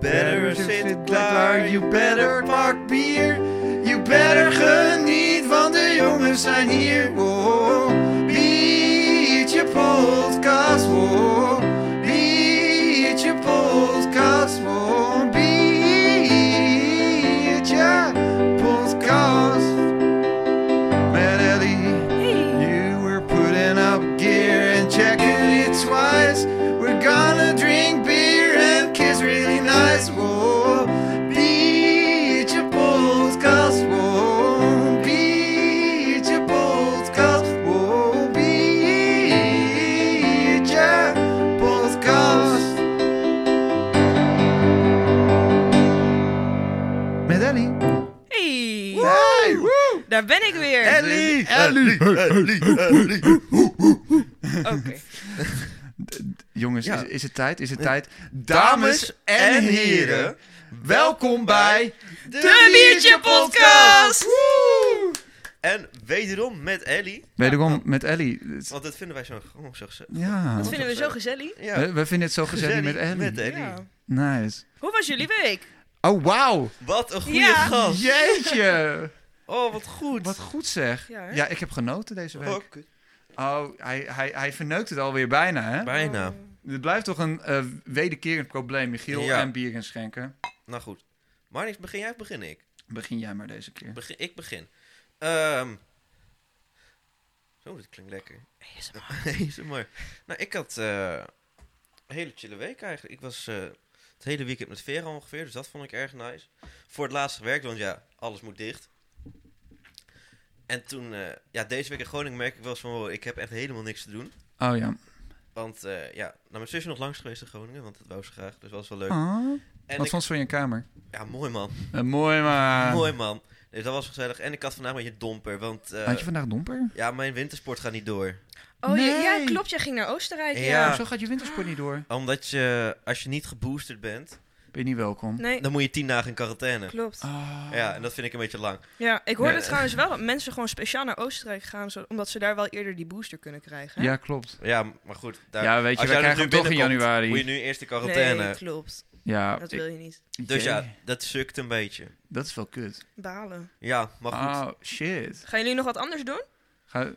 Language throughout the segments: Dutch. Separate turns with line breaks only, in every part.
better zit klaar, you better pak bier. You better geniet, want de jongens zijn hier. Oh, biertje podcast, oh, biertje podcast, oh, biertje podcast. Met Ellie. You were putting up gear and checking it twice. We're gonna drink beer and kiss really nice. Whoa, beat your podcast. Whoa, beat your podcast. Whoa, beat your podcast. Met Ellie.
Hey,
Hey, woo!
daar ben ik weer.
Ellie! Ellie! Ellie!
Oké.
Jongens,
Ja.
is, is het tijd? Is het tijd? Dames en heren, welkom bij
De Biertje Podcast!
Woe!
En wederom met Ellie.
Wederom met Ellie. Het-
Want dat vinden wij zo, gewoon zo gezellig.
Ja,
Dat vinden we zo gezellig.
Ja,
we, we vinden het zo gezellig met Ellie.
Met Ellie.
Ja.
Nice.
Hoe was jullie week?
Oh, wauw!
Wat een goede
Ja.
gast.
Jeetje!
Oh, wat goed.
Wat goed zeg.
Ja, hè?
Ja, ik heb genoten deze
Oh,
week.
kut.
Oh, hij, hij, hij verneukt het alweer bijna, hè?
Bijna.
Het blijft toch een eh, wederkerend probleem, Michiel
Ja.
en bier en schenken.
Nou goed. Maar niks, begin jij of begin ik?
Begin jij maar deze keer.
Begin, ik begin. Ehm. Zo, dit klinkt lekker. Nee, is mooi. Nou, ik had eh, een hele chille week eigenlijk. Ik was eh, het hele weekend met Vera ongeveer, dus dat vond ik erg nice. Voor het laatst gewerkt, want ja, alles moet dicht. En toen, eh, ja, deze week in Groningen merk ik wel eens van, wow, ik heb echt helemaal niks te doen.
Oh ja.
Want eh, ja, nou, mijn zus is nog langs geweest in Groningen, want dat wou ze graag, dus dat was wel leuk.
Ah,
en
wat
ik-
vond ze van je kamer?
Ja, mooi man,
Eh, mooi maar.
mooi man. Dus dat was gezellig. En ik had vandaag een beetje domper, want eh,
Had je vandaag domper?
ja, mijn wintersport gaat niet door.
Oh ja, ja,
Nee.
klopt. Jij ging naar Oostenrijk. Ja.
Ja.
Zo gaat je wintersport niet door.
Omdat je, als je niet geboosterd bent,
Ben je niet welkom.
Nee,
dan moet je tien dagen in quarantaine.
klopt.
Ah.
Ja, en dat vind ik een beetje lang.
Ja, ik hoorde
Nee.
trouwens wel dat mensen gewoon speciaal naar Oostenrijk gaan, zo- omdat ze daar wel eerder die booster kunnen krijgen. hè?
ja, klopt.
Ja, maar goed. Daar,
Ja, weet je,
als
wij
jij er
krijgen
nu
hem toch in
binnenkomt,
januari.
Moet je nu eerst de quarantaine.
Nee, klopt.
Ja,
Dat
ik-
wil je niet.
dus ja,
jee,
dat sukt een beetje.
dat is wel kut.
Balen.
Ja, maar goed.
Oh, shit.
Gaan jullie nog wat anders doen?
Ga-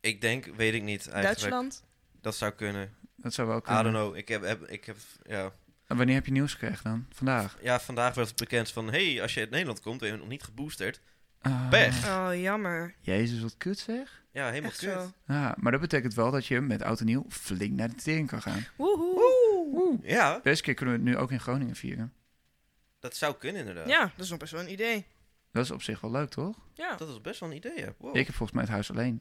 Ik denk, weet ik niet eigenlijk.
Duitsland?
Dat zou kunnen.
dat zou wel
I don't
kunnen.
know. Ik heb, heb- ik heb ja.
En Wanneer heb je nieuws gekregen dan? Vandaag?
ja, vandaag werd het bekend van... hey, als je uit Nederland komt en je bent nog niet geboosterd...
Ah.
Pech.
Oh, jammer.
Jezus, wat kut zeg.
Ja, helemaal
Echt
kut.
zo.
Ja, maar dat betekent wel dat je met oud en nieuw flink naar de tering kan gaan.
Woehoe.
Oeh.
Ja,
Deze keer kunnen we het nu ook in Groningen vieren.
dat zou kunnen inderdaad.
Ja, dat is nog best wel een idee.
Dat is op zich wel leuk, toch?
Ja.
Dat is best wel een idee, hè. Wow.
Ik heb volgens mij het huis alleen.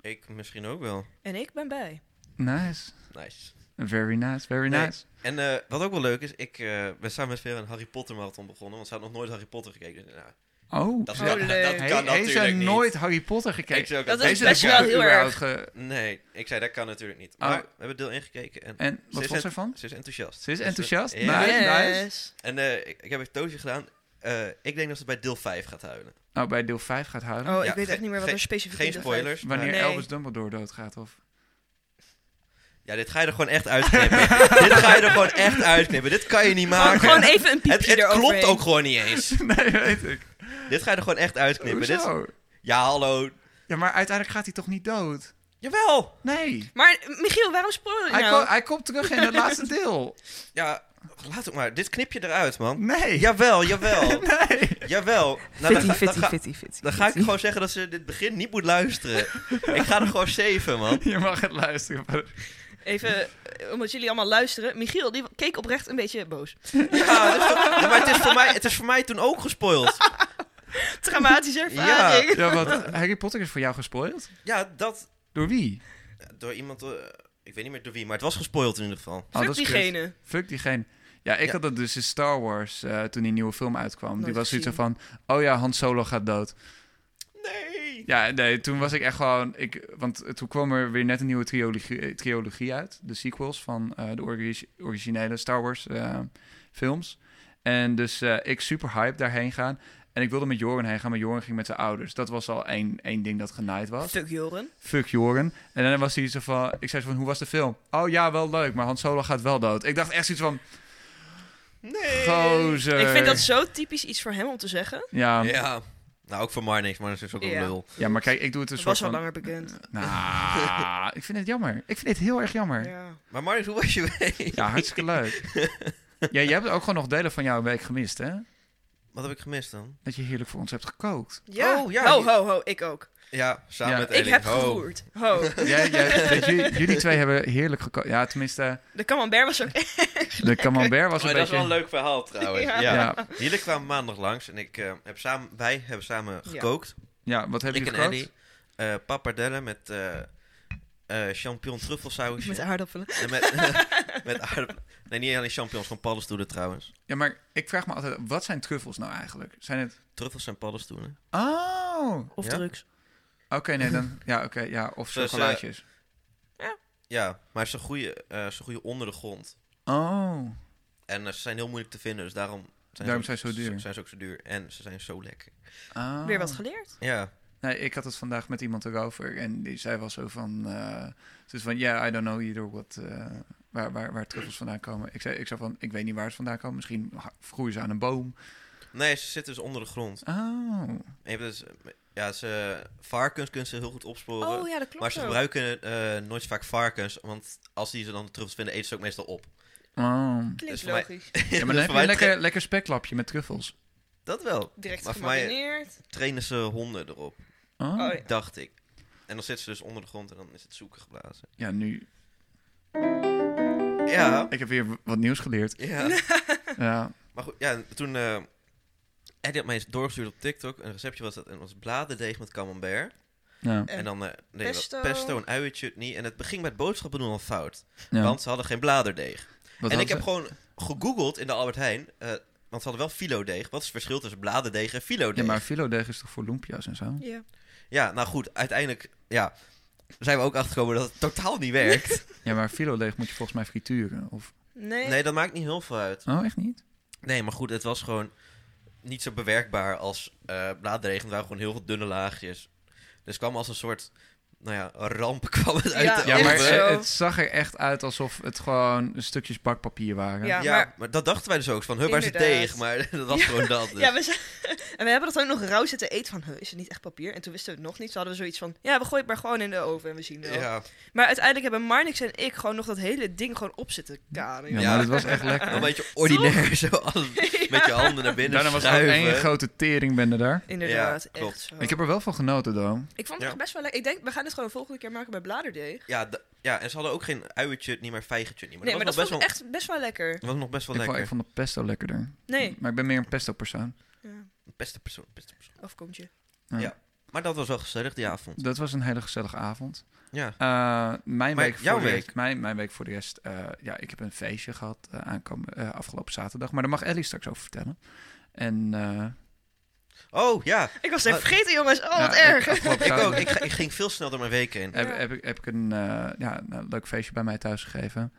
Ik misschien ook wel.
En ik ben bij.
Nice.
Nice.
Very nice, very
Nee.
nice.
En eh, wat ook wel leuk is, ik eh ben samen met Vera een Harry Potter marathon begonnen, want ze had nog nooit Harry Potter gekeken. Dus, nou,
Oh.
dat
Oh,
kan,
leuk.
dat
Hij-
kan
hij
natuurlijk
is er
niet.
nooit Harry Potter gekeken.
Ik zei ook
Dat
al,
is
deze
best wel
kan-
heel
überhaupt
erg.
ge-
Nee, ik zei dat kan natuurlijk niet.
Oh.
Maar we hebben deel 1 gekeken en,
En wat
Ze
vond
is
ze ervan?
ze is enthousiast.
Ze is
Dus,
enthousiast?
eh,
Ja. Nice,
Yes.
En eh, ik, ik heb een toosje gedaan. Eh, ik denk dat ze bij deel 5 gaat huilen.
Nou, bij deel 5 gaat huilen.
Oh, ik
Ja,
weet echt
ge-
niet meer wat er
ge-
specifiek
Geen
in de vijf-
spoilers. maar-
Wanneer
Nee.
Elvis Dumbledore doodgaat, of...
Ja, dit ga je er gewoon echt uitknippen. dit ga je er gewoon echt uitknippen. Dit kan je niet
Gewoon,
maken.
gewoon even een
het
piepje
het
eroverheen.
klopt ook gewoon niet eens.
nee, weet ik.
dit ga je er gewoon echt uitknippen. Dit,
Hoezo?
ja, hallo.
Ja, maar uiteindelijk gaat hij toch niet dood?
Jawel.
Nee.
Maar eh, Michiel, waarom spoil je
Hij,
nou?
ko- hij komt terug in het laatste deel.
Ja, laat het maar. Dit knip je eruit, man.
Nee.
Jawel, jawel.
Nee.
Jawel. Nou, dan
Fitty,
ga- dan
fitty,
ga-
fitty, fitty.
Dan ga ik gewoon zeggen dat ze dit begin niet moet luisteren. ik ga er gewoon zeven, man.
Je mag het luisteren. maar-
Even, eh, omdat jullie allemaal luisteren. Michiel, die keek oprecht een beetje boos.
Ja, dus dat- ja, maar het is, voor mij, het is voor mij toen ook gespoild.
Traumatische ervaring.
Ja, want Harry Potter is voor jou gespoild?
Ja, dat
Door wie? Oh,
door iemand, eh, ik weet niet meer door wie, maar het was gespoild in ieder geval.
Oh,
Fuck
dat is kut.
diegene.
Fuck diegene. Ja, ik
Ja.
had dat dus in Star Wars eh, toen die nieuwe film uitkwam. die
Nooit
was zoiets
gezien.
van, oh ja, Han Solo gaat dood.
Nee.
Ja, nee, toen was ik echt gewoon... Ik, want toen kwam er weer net een nieuwe trilogie, eh, trilogie uit. De sequels van eh, de origi- originele Star Wars eh, films. En dus eh, ik super hype daarheen gaan. En ik wilde met Joren heen gaan, maar Joren ging met zijn ouders. Dat was al één, één ding dat genaaid was.
Fuck Joren.
Fuck Joren. En dan was hij zo van... Ik zei zo van, hoe was de film? Oh ja, wel leuk, maar Han Solo gaat wel dood. Ik dacht echt zoiets van...
Nee.
Gozer.
Ik vind dat zo typisch iets voor hem om te zeggen.
Ja, ja.
Ja. Nou, ook voor Marnix. Marnix is ook een
Ja.
lul.
maar kijk, ik doe het een soort
Dat was al
van...
langer bekend.
Nou, ik vind het jammer. Ik vind het heel erg jammer. Ja,
Ja.
Maar Marnix, hoe was je week?
hartstikke leuk. Ja, jij hebt ook gewoon nog delen van jouw week gemist, hè?
Wat heb ik gemist dan?
Dat je heerlijk voor ons hebt gekookt.
Ja.
Oh, ja,
ho,
die-
ho, ho, ik ook.
Ja, samen
Ja.
met
Ik
Ellie.
heb
Ho.
gevoerd. Ho.
Jij, jij, dat jullie, jullie twee hebben heerlijk gekookt. Ja, tenminste,
De camembert was ook echt...
de camembert was een
Maar dat is
beetje...
wel een leuk verhaal trouwens.
Ja.
ja.
ja,
Jullie kwamen maandag langs en ik, eh, heb samen, wij hebben samen
Ja.
gekookt.
ja, wat hebben
ik
jullie
en
gekookt?
Ellie. eh pappardellen met eh eh champignon truffelsausje.
Met aardappelen.
En met, met aardappelen. Nee, niet alleen champignons, gewoon paddenstoelen trouwens.
Ja, maar ik vraag me altijd, wat zijn truffels nou eigenlijk? Zijn het...
Truffels zijn paddenstoelen.
Oh! Oké,
Of
Ja?
drugs.
nee, dan... Ja, oké, ja, of
Dus, eh,
chocolaatjes.
Ja, maar ze groeien, eh, ze groeien onder de grond.
Oh,
En eh, ze zijn heel moeilijk te vinden, dus daarom zijn,
Daarom
ze, ook-
zijn ze zo duur.
Zijn ze ook zo duur. En ze zijn zo lekker.
oh.
Weer wat geleerd.
Ja,
Nee, ik had het vandaag met iemand erover en die zei wel zo van, eh dus van, ja, I don't know either what, eh, waar, waar, waar truffels vandaan komen. Ik zei, ik zei van, ik weet niet waar ze vandaan komen, misschien ha- groeien ze aan een boom.
nee, ze zitten dus onder de grond.
Oh,
En je hebt dus, eh, ja, ze, varkens kunnen ze heel goed opsporen.
Oh ja, dat klopt
maar ze
ook.
gebruiken eh, nooit zo vaak varkens, want als die ze dan de truffels vinden, eten ze ook meestal op.
oh.
Klinkt
Dus voor mij-
logisch.
Ja, maar
Dus
dan heb
voor
je
mij
een lekker, lekker speklapje met truffels.
Dat wel.
Direct
Maar voor mij-
gemarineerd.
Trainen ze honden erop,
Oh,
Oh,
ja.
ja.
dacht ik. En dan zitten ze dus onder de grond en dan is het zoeken geblazen.
nu,
Ja,
ik heb weer w- wat nieuws geleerd.
ja.
Ja,
Maar goed, ja, toen... eh Eddie had mij eens doorgestuurd op TikTok. Een receptje was dat en was bladerdeeg met camembert.
ja,
En
En, dan eh deden we
pesto.
pesto, een uienchutney. En het beging bij het boodschappen doen al fout.
ja.
Want ze hadden geen bladerdeeg.
Wat
en
had
ik heb
ze-
gewoon gegoogeld in de Albert Heijn. eh, want ze hadden wel filodeeg. Wat is het verschil tussen bladerdeeg en
Ja,
filodeeg? Ja,
maar filodeeg is toch voor lumpia's en zo?
Ja.
nou goed. Uiteindelijk ja, zijn we ook achtergekomen dat het totaal niet werkt.
Ja, maar filodeeg moet je volgens mij frituren, of...
Nee.
nee, dat maakt niet heel veel uit.
Oh, echt niet?
Nee, maar goed. Het was gewoon niet zo bewerkbaar als eh bladerdeeg. Het waren gewoon heel veel dunne laagjes. Dus het kwam als een soort... Nou ja, ramp kwam het uit
Ja,
de
Ja,
Echt
maar
oven.
zo.
eh, het zag er echt uit alsof het gewoon stukjes bakpapier waren.
Ja.
Ja,
maar-
maar, dat dachten wij dus ook. Van, huh, waar is het
Inderdaad.
deeg? Maar dat was gewoon dat. Dus.
Ja, we zijn- en we hebben dat ook nog rauw zitten eten van, huh, is het niet echt papier? En toen wisten we het nog niet. Toen hadden we zoiets van, ja, we gooien het maar gewoon in de oven en we zien wel.
ja.
Maar uiteindelijk hebben Marnix en ik gewoon nog dat hele ding gewoon op zitten karen.
Ja,
Ja.
maar dat was echt
Wel
Ah.
een
lekker.
beetje ordinair zo. Alles, Met je handen naar binnen
Daarna was er
schuiven.
één grote teringbende daar.
Inderdaad,
Ja, klopt.
echt zo.
Ik heb er wel van genoten, dan.
Ik vond het
Ja.
echt best wel lekker. Ik denk, we gaan dit gewoon de volgende keer maken bij bladerdeeg.
ja, d- ja, en ze hadden ook geen uietje, niet meer vijgetje. Niet, maar
nee,
dat
maar
was
dat
nog
vond
best
ik
wel,
echt best wel lekker.
dat was nog best wel
Ik vond,
lekker.
ik vond de pesto lekkerder.
Nee.
Maar ik ben meer een pesto-persoon.
Ja,
Beste persoon, beste persoon.
afkomtje.
Maar dat was wel gezellig die avond.
Dat was een hele gezellige avond.
Ja.
Eh, mijn,
Maar
week
jouw
voor de rest,
week?
mijn, mijn week voor de rest... eh, ja, ik heb een feestje gehad eh, aankomen, eh, afgelopen zaterdag. Maar daar mag Ellie straks over vertellen. En eh,
Oh, ja.
Ik was even vergeten, jongens. Oh,
Ja,
wat
ik-
erg.
afgelopen
Ik ook.
zaterdag-
Ik, ga- ik ging veel snel door mijn week heen.
heb, heb, ik, heb ik een eh, ja, nou, leuk feestje bij mij thuis gegeven.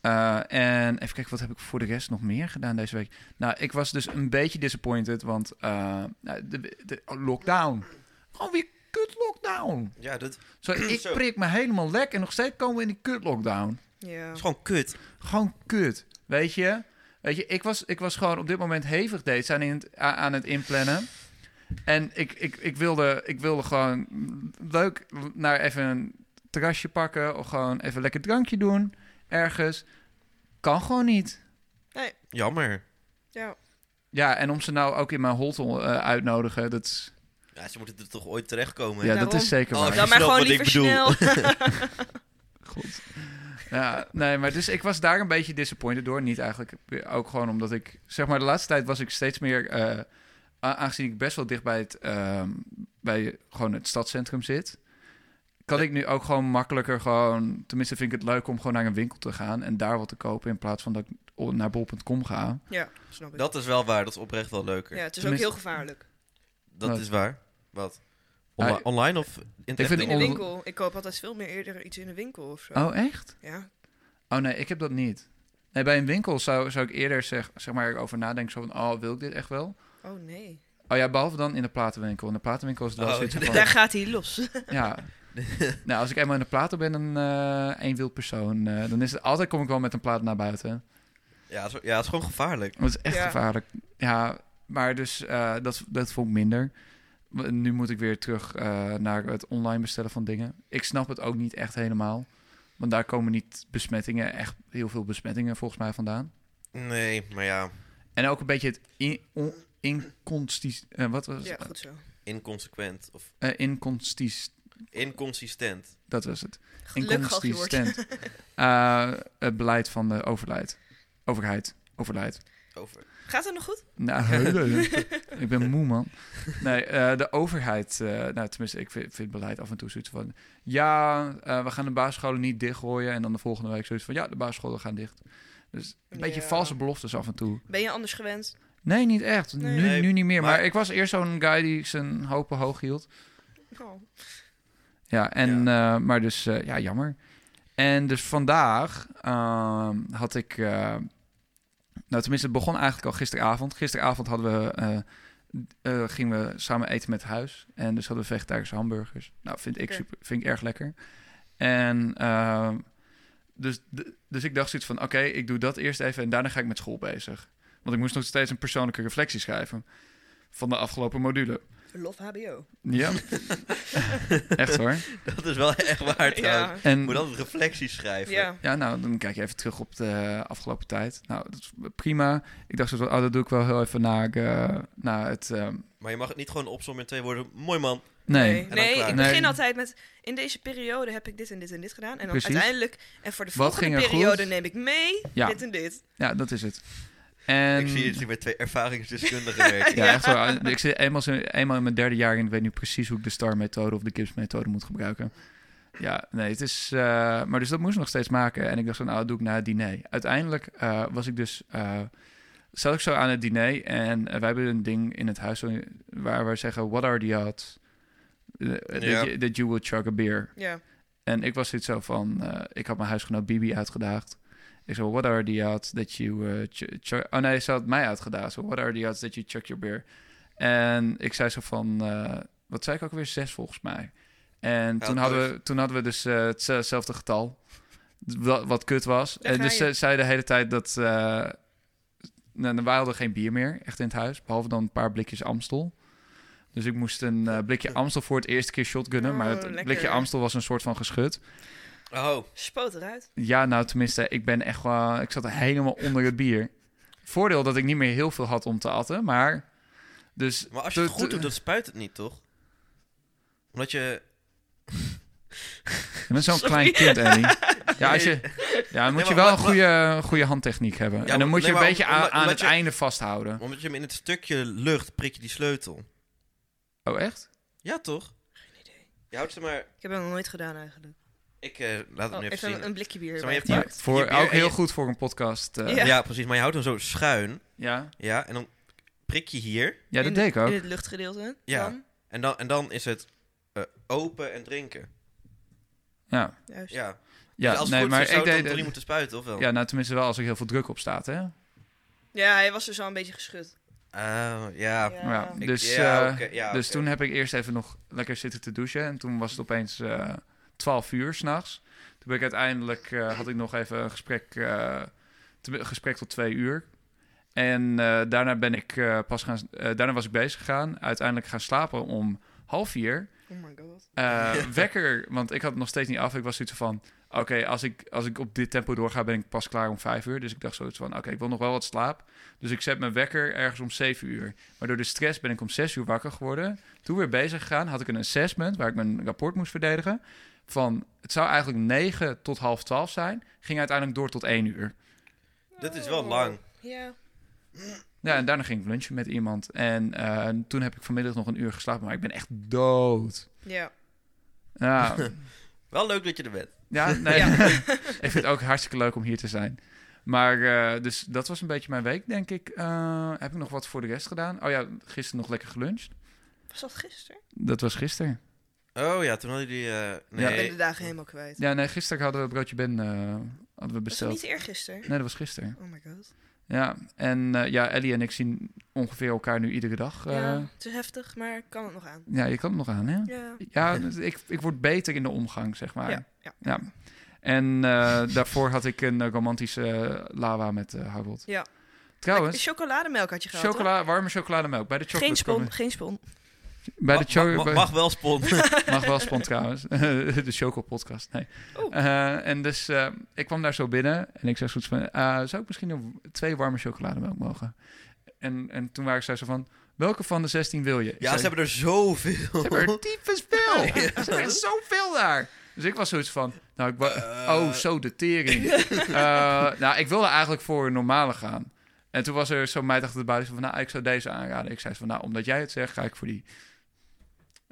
Eh, en even kijken, wat heb ik voor de rest nog meer gedaan deze week? Nou, ik was dus een beetje disappointed, want eh, nou, de, de oh, lockdown. Gewoon weer kut lockdown.
Ja, dat
Zo, ik
Zo.
prik me helemaal lek en nog steeds komen we in die kut lockdown.
Ja.
is gewoon kut.
Gewoon kut, weet je? Weet je, ik was, ik was gewoon op dit moment hevig dates aan, in het, a- aan het inplannen. En ik, ik, ik, wilde, ik wilde gewoon leuk naar even een terrasje pakken... of gewoon even een lekker drankje doen ergens. Kan gewoon niet.
Jammer.
ja.
Ja, en om ze nou ook in mijn holte eh, uitnodigen, dat is,
Ja, ze moeten er toch ooit terechtkomen.
ja, dat
daarom.
is zeker
Oh,
waar.
je
Dan maar
snapt
gewoon
wat ik
liever
bedoel.
snel.
God. Ja, nee, maar dus ik was daar een beetje disappointed door. Niet eigenlijk ook gewoon omdat ik, zeg maar, de laatste tijd was ik steeds meer, eh, a- aangezien ik best wel dicht bij het, ehm, bij gewoon het stadscentrum zit, kan ik nu ook gewoon makkelijker gewoon, tenminste vind ik het leuk om gewoon naar een winkel te gaan en daar wat te kopen in plaats van dat ik o- naar bol.com ga.
ja, snap ik.
Dat is wel waar. Dat is oprecht wel leuker.
ja, het is ook
Tenminste-
heel gevaarlijk.
Dat
Wat?
is waar. Wat?
Ah,
Onli- online of in
vind
In de
on-
winkel. Ik koop altijd veel meer eerder iets in de winkel of zo.
Oh, echt?
Ja,
Oh nee, ik heb dat niet. Nee, bij een winkel zou, zou ik eerder zeg, zeg maar over nadenken zo van, oh, wil ik dit echt wel?
oh nee.
Oh ja, behalve dan in de platenwinkel. In de platenwinkel is het wel
Oh,
zoiets
nee.
van...
Daar gaat hij los.
Ja. nou, als ik eenmaal in de platen ben, een eh eenwiel persoon, eh, dan is het altijd kom ik wel met een plaat naar buiten.
Ja, het is, ja, het is gewoon gevaarlijk.
Dat is echt
Ja.
gevaarlijk. Ja, maar dus eh, dat, dat vond ik minder. W- Nu moet ik weer terug eh, naar het online bestellen van dingen. Ik snap het ook niet echt helemaal. Want daar komen niet besmettingen, echt heel veel besmettingen volgens mij vandaan.
Nee, maar ja,
En ook een beetje het in, on, inconstis- eh, wat was
Ja,
het?
goed zo.
inconsequent of
Eh, inconstis-
inconsistent.
dat was het.
Gelukkig al je woord.
Inconsistent. Eh, het beleid van de overheid. Overheid. Overleid.
Over.
Gaat het nog goed?
Nou, ik ben moe, man. Nee, eh, de overheid... eh, nou, tenminste, ik vind, vind beleid af en toe zoiets van... Ja, eh, we gaan de basisscholen niet dichtgooien. En dan de volgende week zoiets van... Ja, de basisscholen gaan dicht. Dus een beetje
Ja.
valse beloftes af en toe.
Ben je anders gewend?
Nee, niet echt.
Nee.
Nu,
Nee,
nu niet meer. Maar,
maar-
ik was eerst zo'n guy die zijn hopen hoog hield.
Oh.
Ja, en, eh, maar dus... eh, ja, jammer. En dus vandaag ehm, had ik... eh, nou, tenminste, het begon eigenlijk al gisteravond. Gisteravond hadden we, eh, eh, gingen we samen eten met het huis. En dus hadden we vegetarische hamburgers. Nou, vind ik,
Lekker.
super, vind ik erg lekker. En ehm, dus, d- dus ik dacht zoiets van, oké, ik doe dat eerst even... en daarna ga ik met school bezig. Want ik moest nog steeds een persoonlijke reflectie schrijven... van de afgelopen module.
Verlof HBO.
Ja. Echt hoor.
Dat is wel echt waar trouwens.
ja.
En,
Moet altijd reflecties schrijven.
ja.
Ja, nou, dan kijk je even terug op de eh, afgelopen tijd. Nou, dat is prima. Ik dacht, zo van, oh, dat doe ik wel heel even na, eh, na het... ehm,
Maar je mag het niet gewoon opzommen in twee woorden. Mooi man.
nee.
Nee,
dan
nee,
klaar.
ik
Nee.
begin altijd met... In deze periode heb ik dit en dit en dit gedaan. En dan
Precies.
uiteindelijk... En voor de
Wat
volgende
ging er
periode
goed?
neem ik mee
Ja.
dit en dit.
Ja, dat is het. En,
Ik zie het hier met twee ervaringsdeskundigen werken.
Ja, echt wel. Ik zit eenmaal, zo- eenmaal in mijn derde jaar en ik weet nu precies hoe ik de STAR-methode of de Gibbs-methode moet gebruiken. Ja, nee, het is... eh, maar dus dat moest ik nog steeds maken. En ik dacht van, nou, dat doe ik na het diner. Uiteindelijk eh, was ik dus... eh, zat ik zo aan het diner en eh, wij hebben een ding in het huis waar we zeggen... What are the odds eh, that,
Ja.
you, that you will chug a beer?
Ja.
En ik was zoiets zo van, eh, ik had mijn huisgenoot Bibi uitgedaagd. Ik zei, what are the odds that you... eh, chu- chu- oh nee, ze had mij uitgedaagd. Zo, what are the odds that you chuck your beer? En ik zei zo van, eh, wat zei ik ook weer? Zes volgens mij. En
Ja,
toen, hadden we, toen hadden we dus eh, hetze- hetzelfde getal. Wat, wat kut was.
Daar
en
ga
dus
je.
ze zei de hele tijd dat... eh nou, dan- wij hadden geen bier meer, echt in het huis. Behalve dan een paar blikjes Amstel. Dus ik moest een eh, blikje Amstel voor het eerste keer shotgunnen.
Oh,
maar het
lekker.
blikje Amstel was een soort van geschut.
Oh,
Spoot eruit.
Ja, nou tenminste, ik ben echt wel... Ik zat helemaal onder het bier. Voordeel dat ik niet meer heel veel had om te atten, maar... Dus
maar als je het
de-
goed
de-
doet, dan spuit het niet, toch? Omdat je...
Je bent zo'n
Sorry.
klein kind, Annie. Ja, als je, ja dan moet
Nee,
je
maar-
wel een
maar-
goede, goede handtechniek hebben. en
maar-
dan moet
nee,
je een
maar
beetje
omdat-
aan, aan
omdat
het
je-
einde vasthouden.
Omdat je hem in het stukje lucht prik je die sleutel.
Oh, echt?
Ja, toch?
Geen idee.
Je houdt ze maar...
Ik heb dat nog nooit gedaan eigenlijk.
Ik eh, laat het
Oh,
nu even
even een,
zien.
een blikje bier.
Zo, maar je
erbij.
Ja,
hebt hier- je
voor,
bier-
ook
en
heel
je-
goed voor een podcast. eh,
Ja.
ja.
Ja. precies. Maar je houdt hem zo schuin.
Ja.
Ja, en dan prik je hier.
In
dat
de-
deed ik ook.
In het luchtgedeelte.
Ja.
Dan.
En dan, en dan is het eh, open en drinken.
Ja,
Juist.
Ja.
ja
Dus als het
nee,
goed
maar
is, zou
ik deed
het dan drie
het...
moeten spuiten, of wel?
Ja, nou tenminste wel als er heel veel druk op staat, hè?
Ja, hij was dus al een beetje geschud.
Oh, ja.
Ja.
Ja,
Ik-
dus,
ja,
eh,
oké, ja,
dus
oké.
toen heb ik eerst even nog lekker zitten te douchen. En toen was het opeens eh 12 uur s'nachts. Toen ben ik uiteindelijk, eh, had ik nog even een gesprek, eh, te- een gesprek tot twee uur. En eh, daarna ben ik eh, pas gaan, eh, daarna was ik bezig gegaan. Uiteindelijk gaan slapen om half vier.
Oh my god.
Eh, wekker, want ik had het nog steeds niet af. Ik was zoiets van, oké, als, ik, als ik op dit tempo doorga, ben ik pas klaar om vijf uur. Dus ik dacht zoiets van, oké, ik wil nog wel wat slaap. Dus ik zet mijn wekker ergens om zeven uur. Maar door de stress ben ik om zes uur wakker geworden. Toen weer bezig gegaan, had ik een assessment waar ik mijn rapport moest verdedigen. Van, het zou eigenlijk negen tot half twaalf zijn. Ging uiteindelijk door tot één uur.
Dat is wel
Oh.
lang.
Ja.
Ja, en daarna ging ik lunchen met iemand. En eh, toen heb ik vanmiddag nog een uur geslapen, maar ik ben echt dood.
Ja.
Ja,
Wel leuk dat je er bent.
Ja, nee.
Ja.
ik vind het ook hartstikke leuk om hier te zijn. Maar eh, dus dat was een beetje mijn week, denk ik. Eh, heb ik nog wat voor de rest gedaan? Oh ja, gisteren nog lekker geluncht.
Was dat gisteren?
Dat was gisteren.
Oh ja, toen hadden jullie... eh, nee.
Ik ben de dagen helemaal kwijt.
Ja, nee, gisteren hadden we broodje Ben eh, hadden we
Was dat
besteld.
niet eergisteren?
Nee, dat was gisteren.
Oh my god.
Ja, en eh, ja, Ellie en ik zien ongeveer elkaar nu iedere dag. eh.
ja,
ja.
het is heftig, maar ik kan het nog aan.
je kan het nog aan, hè?
Ja.
Ja, dus ik, ik word beter in de omgang, zeg maar.
Ja. ja.
Ja. En eh, daarvoor had ik een eh, romantische eh, lava met eh houtbot.
Ja.
Trouwens,
Chocolademelk had je gehad,
chocola, warme chocolademelk. Bij de
hoor.
chocolate
Geen spon,
komen-
geen spon.
Bij de
Mag- mag,
chocolate
mag- mag wel spon.
Mag wel spon trouwens. de Choco-podcast, nee.
Oeh.
Eh, en dus eh, ik kwam daar zo binnen en ik zei zoiets van... eh, zou ik misschien een- twee warme chocolademelk mogen? En, en toen waren ik zei zo van... Welke van de 16 wil je? Ik
Ja,
zei,
ze hebben er zoveel.
ze hebben er tyfus veel.
Ja.
Ze hebben er zoveel daar. Dus ik was zoiets van... Nou, ik wa-
Eh.
oh, zo de tering. Eh, nou, ik wilde eigenlijk voor een normale gaan. En toen was er zo'n meid achter de buis van... Nou, ik zou deze aanraden. Ik zei zo van... Nou, omdat jij het zegt, ga ik voor die.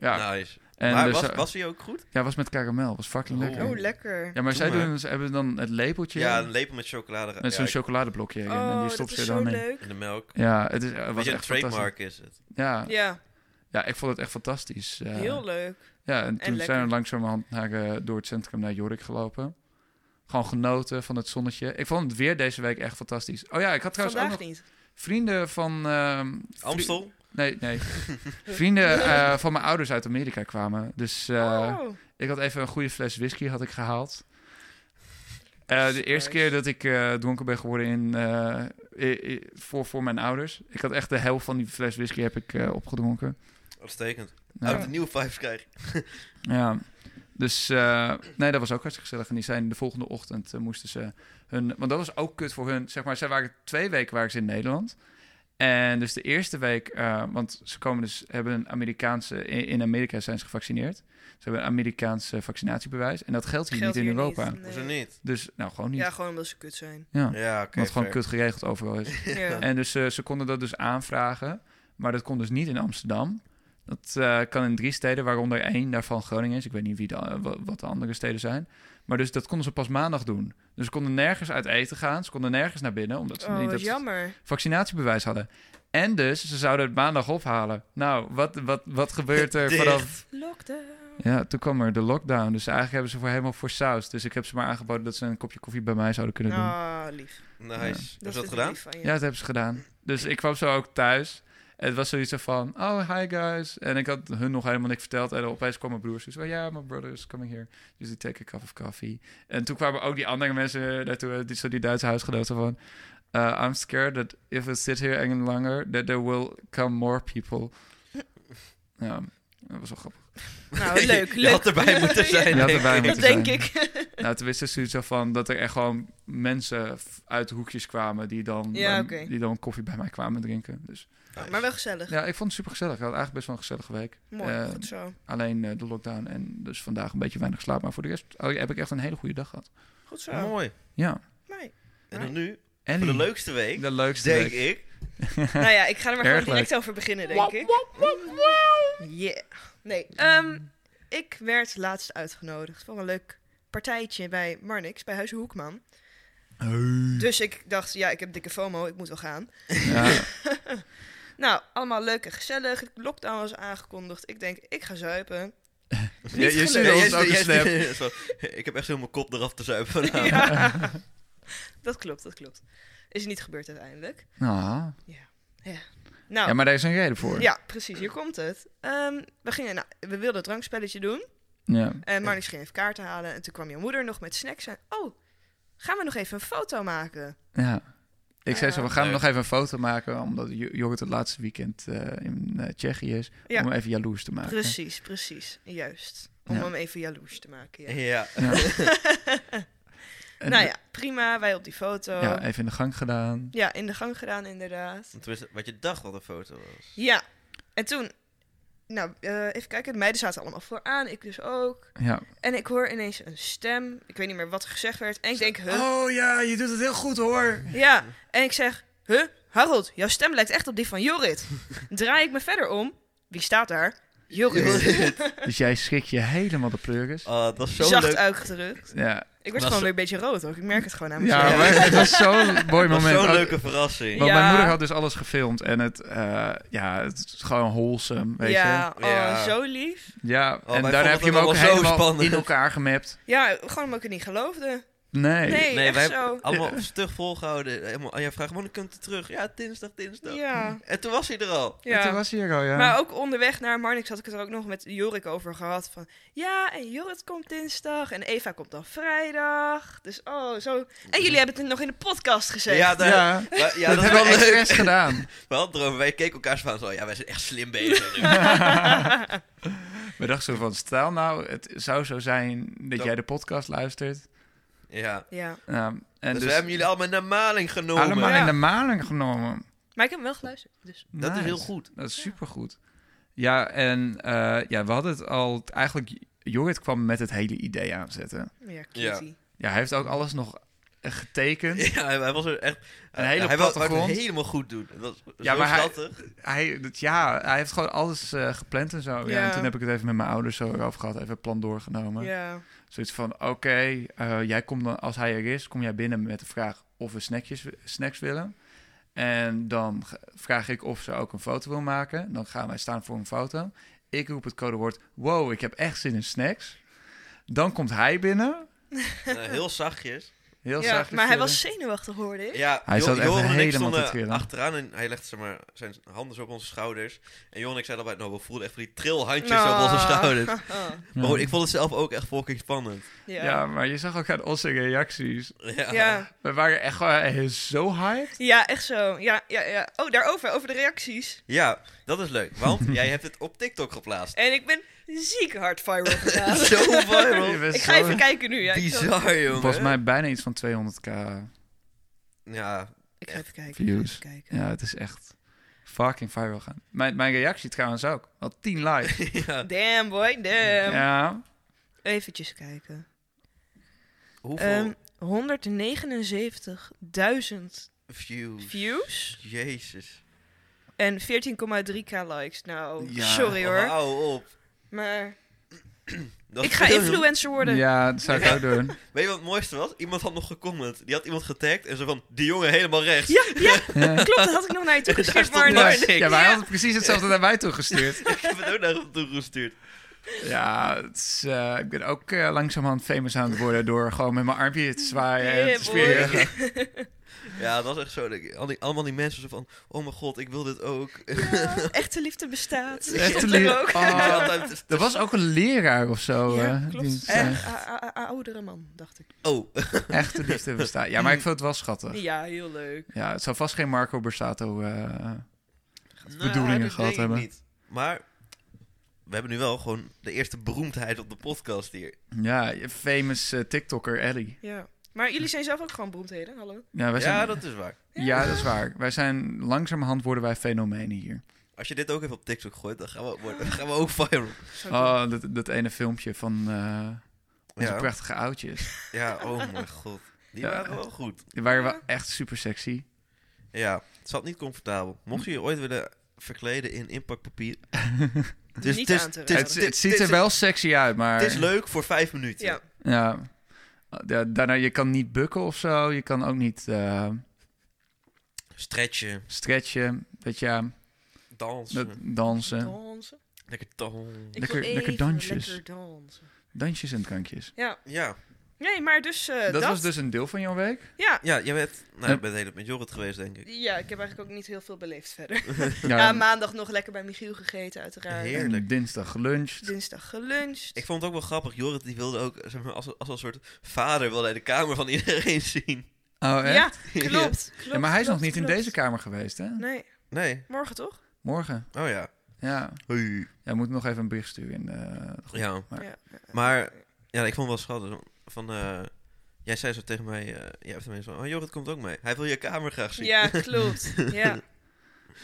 Ja,
Nice.
en
Nou, maar
dus,
was,
eh,
was hij ook goed?
ja, was met karamel. Was fucking
Oh.
lekker.
Oh, lekker.
Ja, maar
Doe
zij
maar.
doen, ze hebben dan het lepeltje
Ja,
in,
een lepel met chocolade.
met zo'n
ja,
chocoladeblokje erin. en die
Oh, dat
stopt
is
ze
zo
dan in.
leuk.
in de melk.
Ja, het is, het
Weet
was
je, een
echt fantastisch.
trademark is het.
Ja,
Ja,
ja, ik vond het echt fantastisch. eh. Ja.
heel leuk.
Ja, en toen
lekker.
zijn we langzamerhand naar, eh, door het centrum naar Jorik gelopen. Gewoon genoten van het zonnetje. Ik vond het weer deze week echt fantastisch. Oh ja, ik had trouwens
Vandaag
ook nog
niet.
vrienden van... ehm, vri-
Amstel?
Nee, nee. vrienden eh, van mijn ouders uit Amerika kwamen. Dus eh,
Oh,
Ik had even een goede fles whisky had ik gehaald. Eh, de eerste
Nice.
keer dat ik eh, dronken ben geworden in, eh, i- i- voor, voor mijn ouders. Ik had echt de helft van die fles whisky heb ik eh, opgedronken.
Uitstekend.
Oh,
Nou,
Uit de nieuwe vijf krijg.
ja. Dus eh, nee, dat was ook hartstikke gezellig. En die zijn de volgende ochtend eh, moesten ze hun... Want dat was ook kut voor hun. Zeg maar, zij waren twee weken waren ze in Nederland. En dus de eerste week... eh, want ze komen dus, hebben een Amerikaanse... In, in Amerika zijn ze gevaccineerd. Ze hebben een Amerikaanse vaccinatiebewijs. En dat geldt hier
geldt
niet in
hier
Europa.
niet,
Hoezo
nee.
niet?
Dus nou, gewoon niet.
Ja, gewoon omdat ze kut zijn.
Ja.
Ja, oké.
Wat gewoon
fair.
kut geregeld overal is.
Ja.
En dus eh, ze konden dat dus aanvragen. Maar dat kon dus niet in Amsterdam. Dat eh, kan in drie steden, waaronder één daarvan Groningen is. Ik weet niet wie de, eh, wa- wat de andere steden zijn. Maar dus dat konden ze pas maandag doen. Dus ze konden nergens uit eten gaan. Ze konden nergens naar binnen, omdat ze
Oh,
niet
wat
dat
jammer.
vaccinatiebewijs hadden. En dus, ze zouden het maandag ophalen. Nou, wat, wat, wat gebeurt er
Dicht.
vanaf
Lockdown.
ja, toen kwam er de lockdown. Dus eigenlijk hebben ze voor helemaal voor saus. Dus ik heb ze maar aangeboden dat ze een kopje koffie bij mij zouden kunnen doen.
Ah, lief.
Nice.
Ja.
Heb je dat
Dat Dus is
gedaan?
lief van je.
Ja, dat hebben ze gedaan. Dus ik kwam zo ook thuis. En het was zoiets van, oh, hi guys. En ik had hun nog helemaal niks verteld. En opeens kwam mijn broer zo, oh ja, my brother is coming here. Dus die take a cup of coffee. En toen kwamen ook die andere mensen daartoe, eh, die, zo die Duitse huisgenoten van... "Uh, I'm scared that if we sit here any longer, that there will come more people. ja, dat was wel grappig.
Nou, leuk,
Je
leuk.
had erbij moeten zijn.
Je had
denk
erbij
ik.
moeten
Dat denk
zijn.
ik.
Nou, toen wisten ze zoiets van dat er echt gewoon mensen f- uit de hoekjes kwamen... die dan,
Ja,
eh,
oké.
die dan koffie bij mij kwamen drinken. Dus
Nice.
Maar wel gezellig.
Ja, ik vond het super gezellig. Ik had eigenlijk best wel een gezellige week.
Mooi,
Eh,
goed zo.
alleen eh, de lockdown en dus vandaag een beetje weinig slaap. Maar voor de rest oh, heb ik echt een hele goede dag gehad.
Goed zo.
Mooi.
Ja.
Mooi.
En dan nu,
En
voor de leukste week,
De leukste
denk
week.
ik.
Nou ja, ik ga er maar
Erg
gewoon direct over beginnen, denk ik. Yeah. Nee.
Mm.
ehm, ik werd laatst uitgenodigd voor een leuk partijtje bij Marnix, bij Huizen Hoekman.
Mm.
Dus ik dacht, ja, ik heb dikke FOMO, ik moet wel gaan.
Ja, Ah.
Nou, allemaal leuk en gezellig. Lockdown was aangekondigd. Ik denk, ik ga zuipen.
je, je ziet
gelukt.
ons ook een snap.
Zo, ik heb echt zo mijn kop eraf te zuipen
Oh.
vanavond.
Ja. Dat klopt, dat klopt. Is niet gebeurd uiteindelijk.
Ah.
Nou,
Ja, maar daar is een reden voor.
Ja, precies. Hier komt het. Ehm, we, gingen, nou, we wilden het drankspelletje doen.
Ja.
En Marnix ging even kaarten halen. En toen kwam je moeder nog met snacks. En, oh, gaan we nog even een foto maken?
Ja. Ik zei
Ja.
zo, we gaan
Leuk.
nog even een foto maken, omdat Jo- Jorrit het laatste weekend eh, in eh, Tsjechië is,
Ja.
om hem even jaloers te maken.
Precies, precies. Juist. Om
Ja.
hem even jaloers te maken. Ja.
Ja.
Ja. En-
Nou ja, prima. Wij op die foto.
ja,
Ja,
even in de gang gedaan.
in de gang gedaan inderdaad.
Tenminste, wat je dacht wat een foto was.
Ja. En toen, nou, eh, even kijken. De meiden zaten allemaal vooraan. Ik dus ook.
Ja.
En ik hoor ineens een stem. Ik weet niet meer wat er gezegd werd. En ik denk, huh?
Oh ja, je doet het heel goed hoor.
Ja, en ik zeg, huh, Harold, jouw stem lijkt echt op die van Jorrit. Draai ik me verder om, wie staat daar? Jorrit.
Dus jij schrik je helemaal de pleuris.
Ah, dat was zo
Zacht
leuk.
uitgedrukt.
Ja,
Ik
Was-
word gewoon weer een beetje rood ook, ik merk het gewoon aan mezelf.
Ja, maar het was zo'n mooi
Dat was
moment.
zo'n
Ook-
leuke verrassing.
Want
Ja.
mijn moeder had dus alles gefilmd en het, eh, ja, het is gewoon wholesome, weet je.
ja, oh,
Ja.
zo lief.
Ja,
wij
en
vonden
daarna heb je hem
het
ook
allemaal zo
helemaal
spannend.
in elkaar gemapt.
Ja, gewoon omdat ik het niet geloofde.
Nee.
Nee,
nee,
echt
wij
zo.
hebben allemaal stug volgehouden. Helemaal, Anja vraagt, wanneer komt hij terug? Ja, dinsdag, dinsdag.
Ja.
En toen was hij er al.
Ja. Toen
ja.
was hij er al, ja.
Maar ook onderweg naar Marnix had ik het er ook nog met Jorik over gehad. Van ja, en Jorrit komt dinsdag en Eva komt dan vrijdag. Dus oh, zo. En jullie hebben het nog in de podcast gezegd.
Ja, daar,
ja.
wa- ja,
dat
dat is
hebben
wel
we al
leuk.
expres gedaan.
We hadden erover, wij keken elkaar van zo, ja, wij zijn echt slim bezig nu.
We dachten zo van, stel nou, het zou zo zijn dat,
Dat-
jij de podcast luistert.
ja.
Ja.
Ja, en
Dus,
dus,
we hebben jullie allemaal naar maling genomen.
allemaal
Ja.
in de maling genomen.
Maar ik heb hem wel geluisterd. Dus.
Dat is
Nice.
heel goed.
Dat is
Ja.
supergoed. Ja, en eh, ja, we hadden het al... Eigenlijk, Jorrit kwam met het hele idee aanzetten.
Ja, cutie.
Ja, hij heeft ook alles nog eh, getekend.
Ja, hij was er echt...
Een hele
hij wou- wou het
plattegrond.
helemaal goed doen. Dat was
Ja,
ja, zo
maar hij-
schattig.
Hij, dat, ja, hij heeft gewoon alles eh, gepland en zo. Ja.
Ja.
En toen heb ik het even met mijn ouders zo erover gehad. Even het plan doorgenomen.
Ja.
Zoiets van, oké, eh, jij komt dan, als hij er is, kom jij binnen met de vraag of we snackjes, snacks willen. En dan g- vraag ik of ze ook een foto wil maken. Dan gaan wij staan voor een foto. Ik roep het codewoord, wow, ik heb echt zin in snacks. Dan komt hij binnen.
Eh, heel zachtjes.
Heel
Ja,
zachtjes
maar hij
willen.
was zenuwachtig, hoorde ik.
Ja,
Hij
Jo-
zat echt
Johan en ik
helemaal te
stonden
trillen.
achteraan en hij legde zeg maar, zijn handen zo op onze schouders. En Johan en ik zeiden allebei, nou, we voelden echt van die trilhandjes op onze schouders. Maar goed, ik vond het zelf ook echt fucking spannend.
ja.
Oh, Ja.
maar je zag ook aan onze reacties.
Ja.
Ja.
We waren echt gewoon eh, zo hyped.
ja, echt zo. Ja, ja, ja. Oh, daarover, over de reacties.
Ja, dat is leuk, want jij hebt het op TikTok geplaatst.
En ik ben ziek hard viral gegaan.
Zo viral.
Je bent
ik ga
zo-
even kijken nu. Ja, ik zal-
Bizar, jongen.
Volgens mij bijna iets van 200k
Ja,
Ik ga even kijken.
Views.
Even kijken.
Ja, het is echt fucking viral gaan. Mijn, mijn reactie trouwens ook. Al 10 likes.
ja.
Damn boy, damn.
ja.
Eventjes kijken.
Hoeveel
Ehm 179.000
views?
views
Jezus.
en 14,3k likes. Nou,
Ja.
sorry
Oh,
hoor.
hou op.
Maar
Dat
ik
is
ga
veel,
influencer worden.
Ja, dat zou ik ook doen.
joh. Weet je wat het mooiste was? Iemand had nog gecomment. Die had iemand getagd en zo van, die jongen helemaal rechts.
Ja, ja,
Ja.
klopt. Dat had ik nog naar je
Daar
toegestuurd,
stond
maar
Ja,
niks.
nee.
Niks.
ja, wij
Ja.
hadden precies hetzelfde naar mij toegestuurd.
Ik heb het ook naar hem toe gestuurd.
Ja, het is, eh, ik ben ook eh, langzamerhand famous aan het worden door gewoon met mijn armpje te zwaaien en
Yeah,
te
boy.
zweren.
Ja, dat was echt zo. dat ik- al die- allemaal die mensen zo van, oh mijn god, ik wil dit ook.
Ja, echte liefde bestaat. Dat
Echte
stond er
liefde.
ook.
Oh.
Ja, dat-
Er was ook een leraar of zo.
Ja,
eh, die
klopt.
zei,
Echt. A- a- a- Oudere man, dacht ik.
Oh,
Echte liefde bestaat. Ja, maar ik vond het wel schattig.
Ja, heel leuk.
Ja, het zou vast geen Marco Borsato... eh,
Nou,
bedoelingen
dat
gehad
denk ik
hebben.
Niet. Maar we hebben nu wel gewoon de eerste beroemdheid op de podcast hier.
ja, famous eh, TikToker Ellie.
Ja. Maar jullie zijn zelf ook gewoon beroemdheden, hallo?
Ja, wij zijn,
Ja, dat is waar.
ja, dat is waar. Wij zijn langzamerhand worden wij fenomenen hier.
Als je dit ook even op TikTok gooit, dan gaan we, worden- dan gaan we ook viral.
Zo'n
Oh, dat, dat ene filmpje van eh, onze
Ja.
prachtige oudjes.
Ja, oh mijn god. Die
Ja.
waren wel goed.
Die waren
Ja.
wel echt super sexy.
Ja, het zat niet comfortabel. Mocht je je ooit willen verkleden in inpakpapier... het
Niet
het
aan te
het
Ja, raden.
het, het ziet er wel sexy uit, maar...
Het is leuk voor vijf minuten.
Ja.
Ja. Ja, Daarna, je kan niet bukken of zo. Je kan ook niet eh,
Stretchen,
stretchen. Dat ja,
dansen,
dat, dansen.
dansen.
lekker dansen.
Ik
Lekker-
wil
lekker
even
dansjes.
Lekker dansen.
Dansjes en drankjes.
Ja.
Ja,
Nee, maar dus eh,
Dat,
dat.
was dus een deel van jouw week.
Ja.
ja jij bent, nou,
Ja.
je bent helemaal met Jorrit geweest, denk ik.
Ja, ik heb eigenlijk ook niet heel veel beleefd verder.
Ja,
Ja, maandag nog lekker bij Michiel gegeten, uiteraard.
en
Heer- heerlijk.
Dinsdag geluncht.
Dinsdag geluncht.
Ik vond het ook wel grappig. Jorrit die wilde ook zeg maar, als, als een soort vader wilde hij de kamer van iedereen zien.
Oh, echt?
ja, klopt. klopt
Ja, maar hij is nog
klopt,
niet in
klopt.
deze kamer geweest, hè?
Nee,
Nee.
morgen toch?
Morgen.
Oh ja.
Ja.
Hoi.
Jij moet nog even een bericht sturen in eh, de groep.
Ja.
Maar-
Ja.
Maar ja, ik vond het wel schattig. Van, eh, jij zei zo tegen mij, eh, jij hebt tenminste van, oh Jorrit komt ook mee. Hij wil je kamer graag zien.
Ja, klopt. Ja.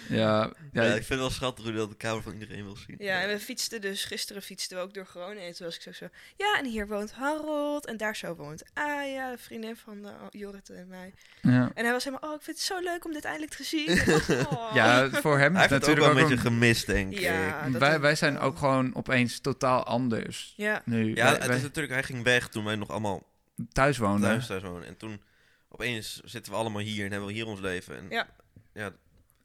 Ja, ja,
Ja, ik vind het wel schattig hoe hij dat de kamer van iedereen wil zien.
ja, en we fietsten dus, gisteren fietsten we ook door Groningen. En toen was ik zo zo, ja, en hier woont Harold. En daar zo woont Aya, de vriendin van eh, Jorrit en mij.
ja.
En hij was helemaal, oh, ik vind het zo leuk om dit eindelijk te zien. En ik dacht, oh.
Ja, voor hem
Hij
is
heeft het ook
natuurlijk
wel een beetje
een-
gemist, denk ik.
Ja, dat denk
wij,
ik
wij zijn
wel.
ook gewoon opeens totaal anders.
Ja,
Nu,
Ja,
wij,
het
wij
is natuurlijk, hij ging weg toen wij nog allemaal
thuis wonen.
thuis thuis woonden. En toen opeens zitten we allemaal hier en hebben we hier ons leven. En
Ja.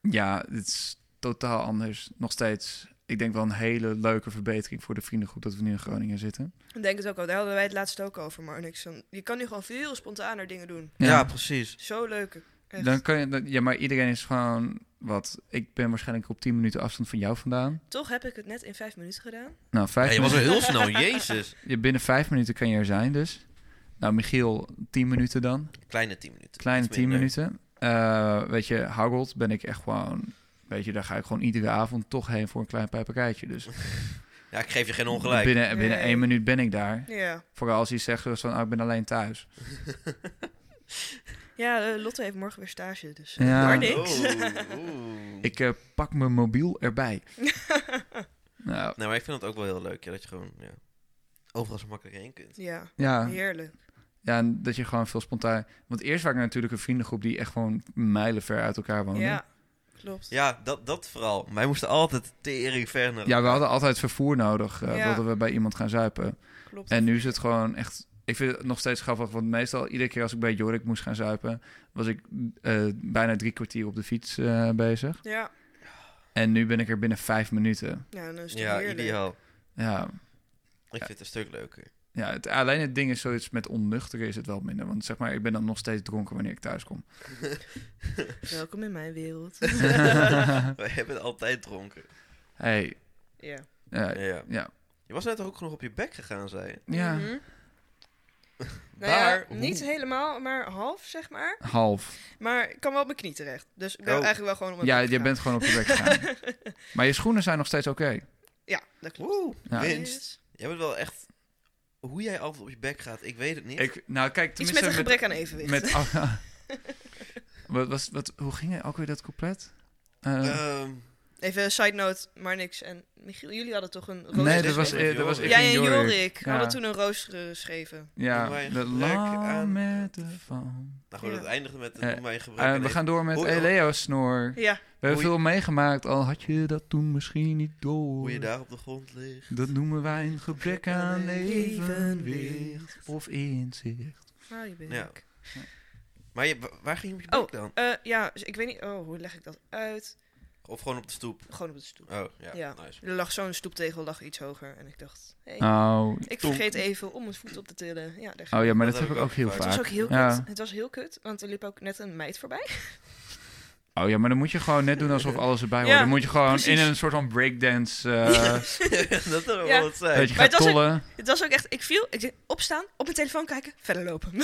Ja, het is totaal anders. Nog steeds ik denk wel een hele leuke verbetering voor de vriendengroep dat we nu in Groningen zitten.
Ik denk het ook al. Daar hadden wij het laatst ook over, maar niks. van- Je kan nu gewoon veel spontaner dingen doen.
Ja, precies.
Zo leuk. Echt.
dan kan je, dan- ja, maar iedereen is gewoon wat. Ik ben waarschijnlijk op 10 minuten afstand van jou vandaan.
Toch heb ik het net in vijf minuten gedaan.
Nou, vijf
Ja, je was
minuten,
er heel snel, jezus.
je, binnen vijf minuten kan je er zijn, dus. Nou, Michiel, 10 minuten dan.
Kleine 10 minuten.
Kleine
Iets
10
minder.
minuten. Eh, weet je, Harold ben ik echt gewoon. Weet je, daar ga ik gewoon iedere avond toch heen voor een klein pijperijtje. Dus
Ja, ik geef je geen ongelijk.
binnen, binnen
Nee.
één minuut ben ik daar.
Ja.
Vooral als hij zegt zoals van, oh, ik ben alleen thuis.
Ja, eh, Lotte heeft morgen weer stage, dus eh,
Ja.
maar niks.
Oh, oeh.
Ik eh, pak mijn mobiel erbij. nou,
Nou, maar ik vind het ook wel heel leuk, ja, dat je gewoon ja, overal zo makkelijk heen kunt.
Ja,
ja.
heerlijk.
ja, en dat je gewoon veel spontaan... Want eerst waren er natuurlijk een vriendengroep die echt gewoon mijlenver uit elkaar woonde. Ja.
Ja, klopt.
Ja, dat, dat vooral. Wij moesten altijd tering ver naar...
we hadden altijd vervoer nodig. eh
Ja.
Wilden we bij iemand gaan zuipen.
Klopt.
En nu is het gewoon echt... Ik vind het nog steeds grappig, want meestal iedere keer als ik bij Jorik moest gaan zuipen... was ik eh, bijna drie kwartier op de fiets eh, bezig.
Ja,
En nu ben ik er binnen vijf minuten.
nou, dan is het
ja,
heerlijk.
ideaal.
Ja,
Ik vind het een stuk leuker.
ja het, alleen het ding is zoiets met onnuchteren is het wel minder. Want zeg maar, ik ben dan nog steeds dronken wanneer ik thuis kom.
Welkom in mijn wereld.
Wij hebben het altijd dronken.
hey,
ja.
eh,
Ja.
ja.
Je was net toch ook nog op je bek gegaan, zei je?
Ja,
Mhm. Nou
Daar,
ja, niet
oeh.
helemaal, maar half, zeg maar.
half.
Maar ik kan wel op mijn knie terecht. Dus ik ben
Oh.
eigenlijk wel gewoon op mijn
Ja, je
bek gegaan.
bent gewoon op je bek gegaan. maar je schoenen zijn nog steeds oké.
Ja, dat klopt.
Woe,
Ja.
winst. Jij bent wel echt... Hoe jij altijd op je bek gaat, ik weet het niet.
Ik, nou, kijk,
Iets
tenminste...
met een gebrek aan evenwicht.
Met, wat, was, wat, hoe ging het ook weer dat couplet? Eh,
Ehm,
Even een side note, maar niks. En Michiel, jullie hadden toch een rooster?
nee,
dit
dat
is
was,
met
eh, dat was
Jorik.
ik
Jij en
Jorik.
Jorik
Ja.
hadden toen een rooster geschreven.
Noem
Ja,
mij een
de
gebrek aan-
lammettenfan.
nou, gewoon
Ja.
het eindigde met...
Eh,
noem mij een gebrek
Eh
aan
we gaan door met
Hoe-
hey, Leo Snor.
Ja,
We hebben
hoe-
veel meegemaakt, al had je dat toen misschien niet door.
Hoe je daar op de grond ligt.
Dat noemen wij een gebrek aan evenwicht
Evenwicht.
of inzicht.
waar Ah, je bent.
Ja.
ik.
Maar je, wa- waar ging je op je
Oh.
bek dan?
Eh, ja, dus ik weet niet. Oh, hoe leg ik dat uit?
Of gewoon op de stoep?
Gewoon op de stoep.
Oh, ja.
Ja.
Nice.
Er lag zo'n stoeptegel lag iets hoger. En ik dacht, hé, hey,
Oh,
ik vergeet even om mijn voet op te tillen. Ja, daar gaat
oh ja, maar
Dat
dat, heb
heb ik
ik ook
ook
heel
vaak.
het. was ook
vaak.
heel kut.
Ja.
Het was heel kut, want er liep ook net een meid voorbij.
Oh ja, maar dan moet je gewoon net doen alsof alles erbij hoort.
Ja,
dan moet je gewoon in
precies.
een soort van breakdance... eh
dat zou
Ja.
wel wat zijn.
dat je
Maar
gaat
het was ook-
tollen.
Het was ook echt, ik viel, ik denk, opstaan, op mijn telefoon kijken, verder lopen.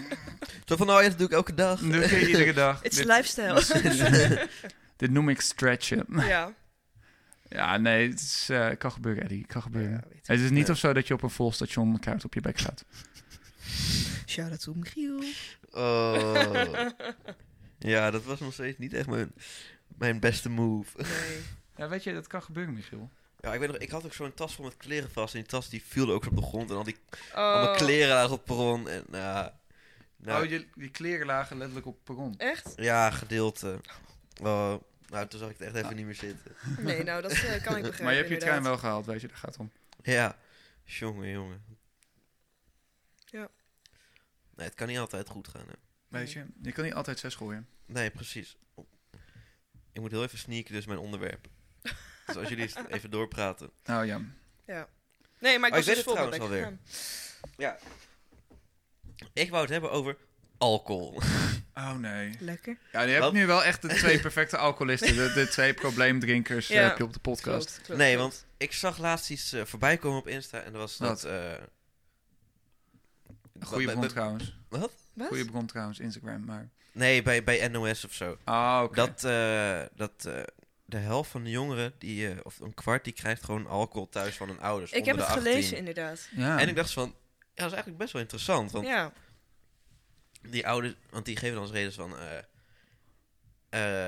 Zo van, nou ja, dat doe ik elke dag.
Nu kun je iedere dag.
It's
Dit-
lifestyle.
Dit noem ik stretchen.
ja.
Ja, nee, het is, eh, kan gebeuren, Eddie. Kan gebeuren.
ja weet ik.
Het is niet
Ja.
of zo dat je op een vol station kaart op je bek gaat.
Shout out to Michiel.
Oh. ja, dat was nog steeds niet echt mijn, mijn beste move.
Nee.
Ja, weet je, dat kan gebeuren, Michiel.
Ja, ik weet nog, ik had ook zo'n tas vol met kleren vast. En die tas die viel ook zo op de grond. En al die al mijn
Oh,
kleren lagen op het perron. En, nou, nou,
Oh, je, die kleren lagen letterlijk op perron.
echt?
Ja, gedeelte. Oh, nou, toen zag ik het echt even niet meer zitten.
Nee, nou, dat eh, kan ik begrijpen.
Maar je hebt je trein
inderdaad.
wel gehaald, weet je, daar gaat het om.
Ja, jongen, jongen.
Ja.
Nee, het kan niet altijd goed gaan, hè.
Weet je, je kan niet altijd zes gooien.
Nee, precies. Ik moet heel even sneaken, dus mijn onderwerp. dus als jullie het even doorpraten.
Nou ja.
Nee, maar ik
Oh,
was
ik weet
dus
het
vol met
trouwens
bek
alweer.
gegaan.
Ik wou het hebben over alcohol.
Oh nee.
Lekker.
Ja, je hebt
Wat?
nu wel echt de twee perfecte alcoholisten. De, de twee probleemdrinkers eh,
Ja.
heb je op de podcast.
Klopt, klopt,
nee,
klopt.
want ik zag laatst iets eh, voorbij komen op Insta en dat was dat... eh
Goeie
bij-
bron
bij-
trouwens.
Wat?
Goeie bron trouwens, Instagram. Maar...
Nee, bij, bij NOS of zo.
Ah, oké.
Dat, eh, dat eh, de helft van de jongeren, die, eh, of een kwart, die krijgt gewoon alcohol thuis van hun ouders.
Ik heb
onder
het
de 18.
gelezen, inderdaad.
Ja.
En ik dacht van, ja, dat is eigenlijk best wel interessant. Want
Ja,
die ouders, want die geven dan als redenen van, eh,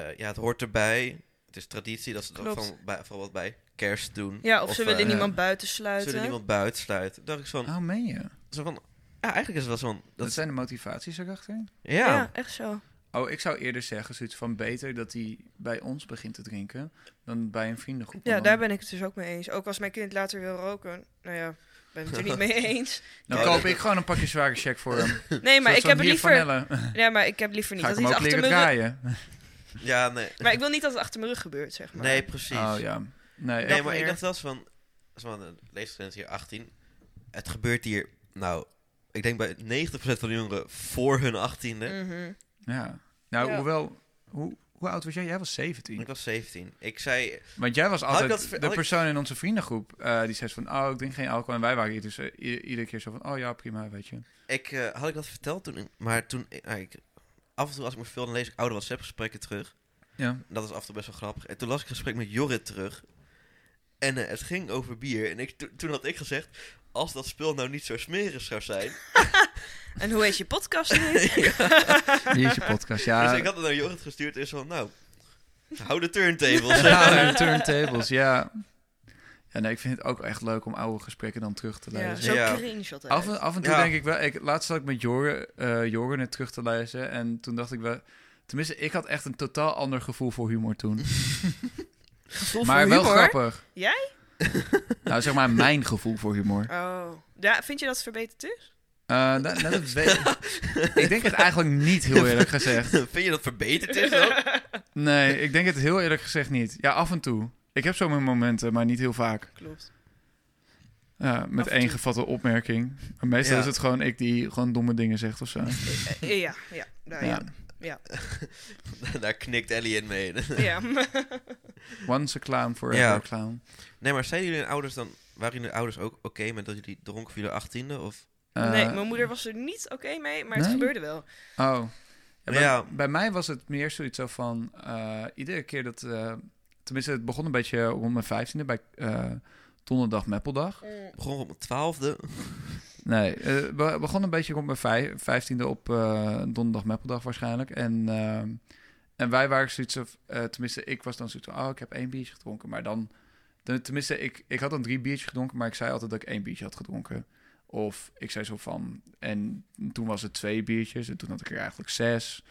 eh, ja, het hoort erbij. Het is traditie dat ze dat
Klopt.
van, bij, bijvoorbeeld bij kerst doen.
ja of, ze willen
eh,
niet
niemand buiten
ze
sluiten.
willen niemand buiten sluiten. Toen dacht ik van,
Oh, meen je? Dat,
zo van, ja, eigenlijk is het wel zo van, dat, is-
zijn de motivaties erachter?
ja,
Ja, echt zo.
Oh, ik zou eerder zeggen zoiets van beter dat hij bij ons begint te drinken dan bij een vriendengroep.
Ja,
Want
daar
dan,
ben ik het dus ook mee eens. Ook als mijn kind later wil roken. Nou ja, ben ik het er niet mee eens.
dan
Oh,
koop
dat-
ik gewoon een pakje zware check voor hem.
Nee, maar ik heb het liever...
Ga
Ja, maar ik heb liever niet
ik
dat
hem
iets
ook
achter
leren
mijn rug...
draaien?
ja, nee.
Maar ik wil niet dat het achter mijn rug gebeurt, zeg maar.
Nee, precies.
Oh ja. Nee,
Nee,
Dat
maar ik
weer.
dacht wel eens van, als van eh, de leeftijd hier 18. Het gebeurt hier, nou, ik denk bij 90% van de jongeren voor hun 18e.
Mhm.
ja. Nou,
Ja.
hoewel... Hoe, hoe oud was jij? Jij was 17.
Ik was 17. Ik zei,
Want jij was
Had ik
altijd
dat ver-
de
had ik-
persoon in onze vriendengroep eh, die zei van... Oh, ik drink geen alcohol. En wij waren hier dus eh, i- iedere keer zo van... Oh ja, prima, weet je.
ik, eh, had ik dat verteld toen? Maar toen, eh, ik, af en toe als ik me verveelde, dan lees ik oude WhatsApp-gesprekken terug.
Ja.
Dat is af en toe best wel grappig. En toen las ik een gesprek met Jorrit terug. En eh, het ging over bier. En ik, to- toen had ik gezegd, als dat spul nou niet zo smerig zou zijn.
En hoe heet je podcast nu?
Hier is je podcast. Ja,
Dus ik had het naar Jorrit gestuurd. En is van, nou, hou de turntables.
Ja, de turntables, ja. Ja, nee, ik vind het ook echt leuk om oude gesprekken dan terug te
ja,
lezen.
zo
Ja.
cringe altijd.
Af, en, af en toe
Ja.
denk ik wel... Ik, laatst zat ik met Joren, eh Joren het terug te lezen en toen dacht ik wel... Tenminste, ik had echt een totaal ander gevoel voor humor toen.
Gevoel
maar
voor
wel
humor.
grappig.
Jij?
Nou, zeg maar mijn gevoel voor humor.
Oh. Ja, vind je dat het verbeterd is?
Eh, nou, nou, dat weet ik. ik denk het eigenlijk niet, heel eerlijk gezegd.
Vind je dat verbeterd is dan?
Nee, ik denk het heel eerlijk gezegd niet. Ja, af en toe. Ik heb zo mijn momenten, maar niet heel vaak.
Klopt.
Ja, met
Af en
één
toe.
gevatte opmerking. Maar meestal
Ja.
is het gewoon ik die gewoon domme dingen zegt of zo.
Eh, ja, ja. Nou, ja.
Ja.
Daar knikt Ellie in mee.
ja.
Once a clown, forever
Ja.
a clown.
nee, maar zijn jullie ouders dan... Waren jullie ouders ook oké met dat jullie dronken voor jullie 18e? Of...
Eh,
nee, mijn moeder was er niet oké mee, maar het
Nee?
gebeurde wel.
Oh. Ja, bij,
Ja.
bij mij was het meer zoiets zo van... eh, iedere keer dat... eh, tenminste, het begon een beetje rond mijn vijftiende bij eh donderdag Meppeldag.
Begon op mijn 12e.
Nee, eh, we begonnen een beetje rond mijn vij- vijftiende op eh, donderdag Meppeldag waarschijnlijk. En, ehm, en wij waren zoiets of, eh, tenminste ik was dan zoiets van, oh ik heb één biertje gedronken. Maar dan, ten- tenminste ik, ik had dan drie biertjes gedronken, maar ik zei altijd dat ik één biertje had gedronken. Of ik zei zo van, en toen was het twee biertjes en toen had ik er eigenlijk zes.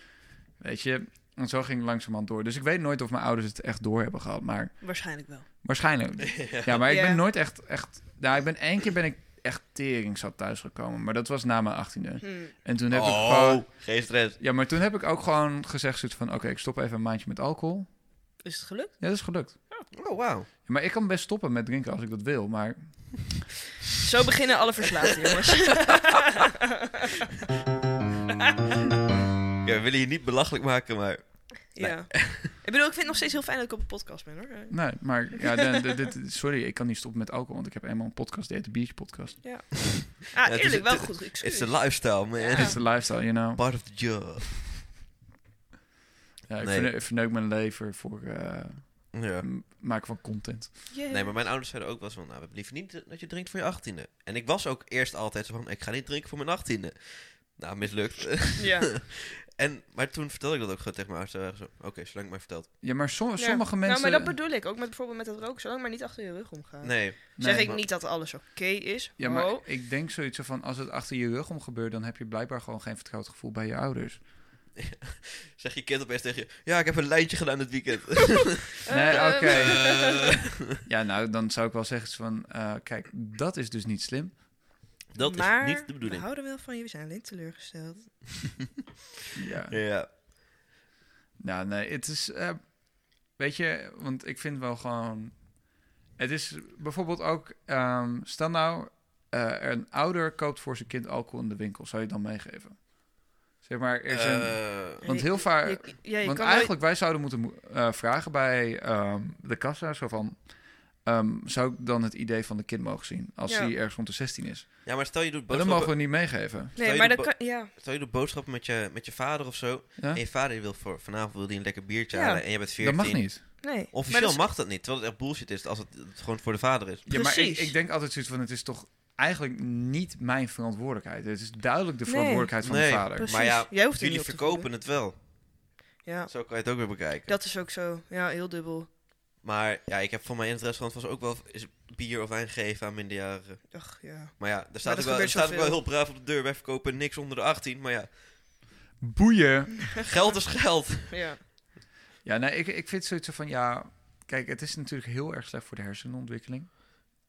Weet je, en zo ging het langzamerhand door. Dus ik weet nooit of mijn ouders het echt door hebben gehad, maar
Waarschijnlijk wel.
waarschijnlijk. Ja, maar ik
Ja.
ben nooit echt, echt... Nou, ik ben één keer ben ik echt teringzat thuisgekomen. Maar dat was na mijn achttiende.
Hmm.
En toen heb ik
oh,
gewoon...
geen stress.
Ja, maar toen heb ik ook gewoon gezegd zoiets van... Oké, ik stop even een maandje met alcohol.
Is het gelukt?
Ja, dat is gelukt.
Oh, wauw.
Ja, maar ik kan best stoppen met drinken als ik dat wil. Maar
Zo beginnen alle verslaafden, jongens.
Ja, we willen je niet belachelijk maken, maar...
ja. Ik bedoel, ik vind het nog steeds heel fijn dat ik op een podcast ben, hoor. Eh,
nee, maar... Ja, de- de- de- sorry, ik kan niet stoppen met alcohol. Want ik heb eenmaal een podcast. Die heet de Biertje Podcast.
Ah,
het is-
eerlijk, wel
het-
goed. Excuus.
It's a lifestyle, man.
Ja.
Het is de lifestyle, you know.
Part of the job.
Ja, ik
Nee.
verne- ik verneuk mijn lever voor eh,
Ja.
m- maken van content.
Yeah.
Nee, maar mijn ouders zeiden ook wel eens van... Nou, we hebben liever niet dat je drinkt voor je 18e. En ik was ook eerst altijd zo van... Ik ga niet drinken voor mijn 18e. Nou, mislukt.
Ja.
en, maar toen vertelde ik dat ook gewoon tegen mijn ouders. Ze waren zo, Oké, zolang ik maar verteld.
Ja, maar som-
Ja.
sommige mensen...
Nou, maar dat bedoel ik. Ook met, bijvoorbeeld met dat roken. Zolang maar niet achter je rug omgaan.
Nee.
zeg
Nee.
ik
maar-
niet dat alles oké is.
Ja, maar
Oh.
ik denk zoiets van, als het achter je rug om gebeurt, dan heb je blijkbaar gewoon geen vertrouwd gevoel bij je ouders.
Zeg je kind opeens tegen je... Ja, ik heb een lijntje gedaan dit weekend.
Nee,
Eh,
oké.
Eh,
Ja, nou, dan zou ik wel zeggen van, eh, kijk, dat is dus niet slim.
dat
maar
is niet de bedoeling.
we houden wel van je. We zijn alleen teleurgesteld.
Ja.
Ja.
Nou, nee, het is, eh, weet je, want ik vind wel gewoon, het is bijvoorbeeld ook, ehm, stel nou, eh, een ouder koopt voor zijn kind alcohol in de winkel, zou je het dan meegeven? Zeg maar, er is een...
Eh,
Want
Je-
heel vaak-
je- ja, je
Want
kan wel-
eigenlijk, wij zouden moeten mo- eh, vragen bij ehm, de kassa, zo van... ehm, zou ik dan het idee van de kind mogen zien als
Ja.
hij ergens rond de 16 is?
ja, maar stel je doet
Maar dat
boodschappen,
mogen we niet meegeven.
Stel
Nee,
je
maar
de
dat kan... Ja.
stel je doet boodschappen met, je, met je vader of zo.
Ja?
En je vader wil voor, vanavond wil die een lekker biertje
Ja.
halen en je bent 14.
Dat mag niet.
Nee.
Officieel
maar dat
mag dat niet, terwijl het echt bullshit is als het, het gewoon voor de vader is.
Ja, maar ik,
Precies.
ik denk altijd zoiets van, het is toch eigenlijk niet mijn verantwoordelijkheid. Het is duidelijk de
Nee.
verantwoordelijkheid van
Nee.
de
is-
vader.
Precies.
Maar ja,
Jij hoeft er
Jullie
niet op te
verkopen het wel.
voeden. Ja.
Zo kan je het ook weer bekijken.
Dat is ook zo. Ja, heel dubbel.
Maar ja, ik heb van mij in het restaurant was ook wel is bier of wijn gegeven aan minderjarigen.
Ach, ja.
Maar ja, daar staat,
dat
ook, wel, er
gebeurt
staat ook wel
zoveel.
heel braaf op de deur. Wij verkopen niks onder de 18. Maar ja,
Boeien!
geld is geld.
Ja.
Ja, nee, ik, ik vind zoiets van, ja... Kijk, het is natuurlijk heel erg slecht voor de hersenontwikkeling.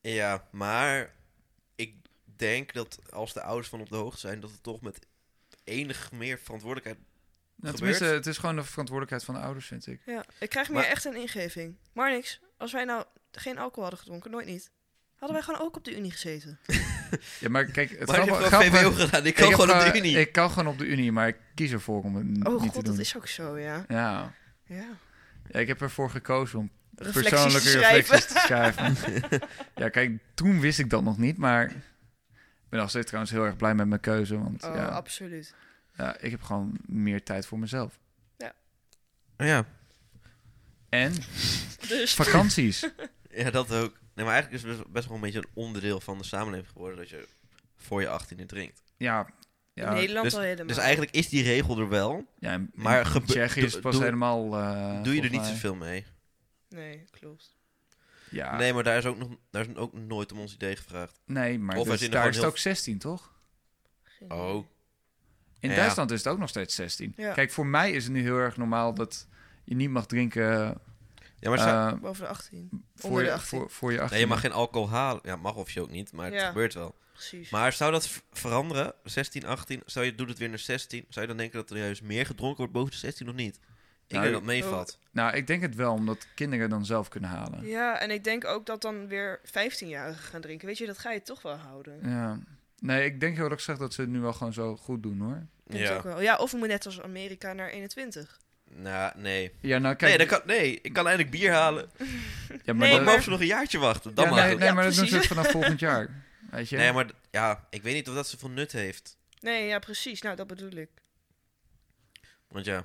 Ja, maar ik denk dat als de ouders van op de hoogte zijn, dat het toch met enig meer verantwoordelijkheid.
Nou,
Gebeurt.
tenminste, het is gewoon de verantwoordelijkheid van de ouders, vind ik.
ja. Ik krijg meer
Maar-
echt een ingeving. Maar niks. Als wij nou geen alcohol hadden gedronken, nooit niet. Hadden wij gewoon ook op de Unie gezeten.
Ja, maar kijk, het
Maar ik heb
grappige-
gewoon
grappige-
VWO gedaan. Ik kan
heb
gewoon op de Unie.
Ik kan gewoon op de Unie, maar ik kies ervoor om het n-
Oh
niet
god,
te doen.
dat is ook zo, ja.
Ja.
ja.
Ja, ik heb ervoor gekozen om
Reflecties
persoonlijke
te schrijven.
reflecties te schrijven. ja, kijk, toen wist ik dat nog niet, maar ik ben nog steeds trouwens heel erg blij met mijn keuze, want
Oh,
ja,
absoluut.
ja, ik heb gewoon meer tijd voor mezelf.
Ja.
En
Dus
vakanties.
ja, dat ook. Nee, maar eigenlijk is het best, best wel een beetje een onderdeel van de samenleving geworden dat je voor je 18e drinkt.
ja,
in
ja,
Nederland al helemaal.
Dus eigenlijk is die regel er wel.
ja in- in
Maar gebe-
Tsjechië is
doe-
pas
doe-
helemaal... eh,
Doe je er
volgens
niet
mij-
zoveel mee.
Nee, klopt.
Ja, nee,
Nee, maar daar is ook nog daar is ook nooit om ons idee gevraagd.
maar
Of
dus
als je
daar
er gewoon
is het
heel-
ook 16, toch?
Geen idee.
Oh.
In
Ja.
Duitsland is het ook nog steeds 16.
Ja.
Kijk, voor mij is het nu heel erg normaal dat je niet mag drinken
Ja, maar
eh,
Boven de 18.
voor,
onder de
je,
18.
voor, voor je 18.
nee, je mag geen alcohol halen. Ja, mag of je ook niet, maar het
Ja.
gebeurt wel.
Precies.
Maar zou dat v- veranderen? 16, 18, zou je doet het weer naar 16? Zou je dan denken dat er juist meer gedronken wordt boven de 16 of niet? Ik
Nou,
denk dat het
Oh,
meevalt.
Nou, ik denk het wel, omdat kinderen dan zelf kunnen halen. Ja.
Ja, en ik denk ook dat dan weer 15-jarigen gaan drinken. Weet je, dat ga je toch wel houden.
Nee, ik denk heel erg gezegd dat ze het nu wel gewoon zo goed doen, hoor.
Denk ik ook wel. ja, of we moeten net als Amerika naar 21.
Nou, nee.
Ja, nou kijk...
nee, dat kan, nee, ik kan eindelijk bier halen.
ja,
Nee,
Dan
dat-
maar-
mogen ze nog een jaartje wachten. Dan
ja,
mag
nee,
het.
nee,
Ja,
maar dat doen ze
precies.
vanaf volgend jaar. Weet je?
Nee, maar d- ja, ik weet niet of dat zoveel nut heeft.
Nee, ja, precies. Nou, dat bedoel ik.
Want ja,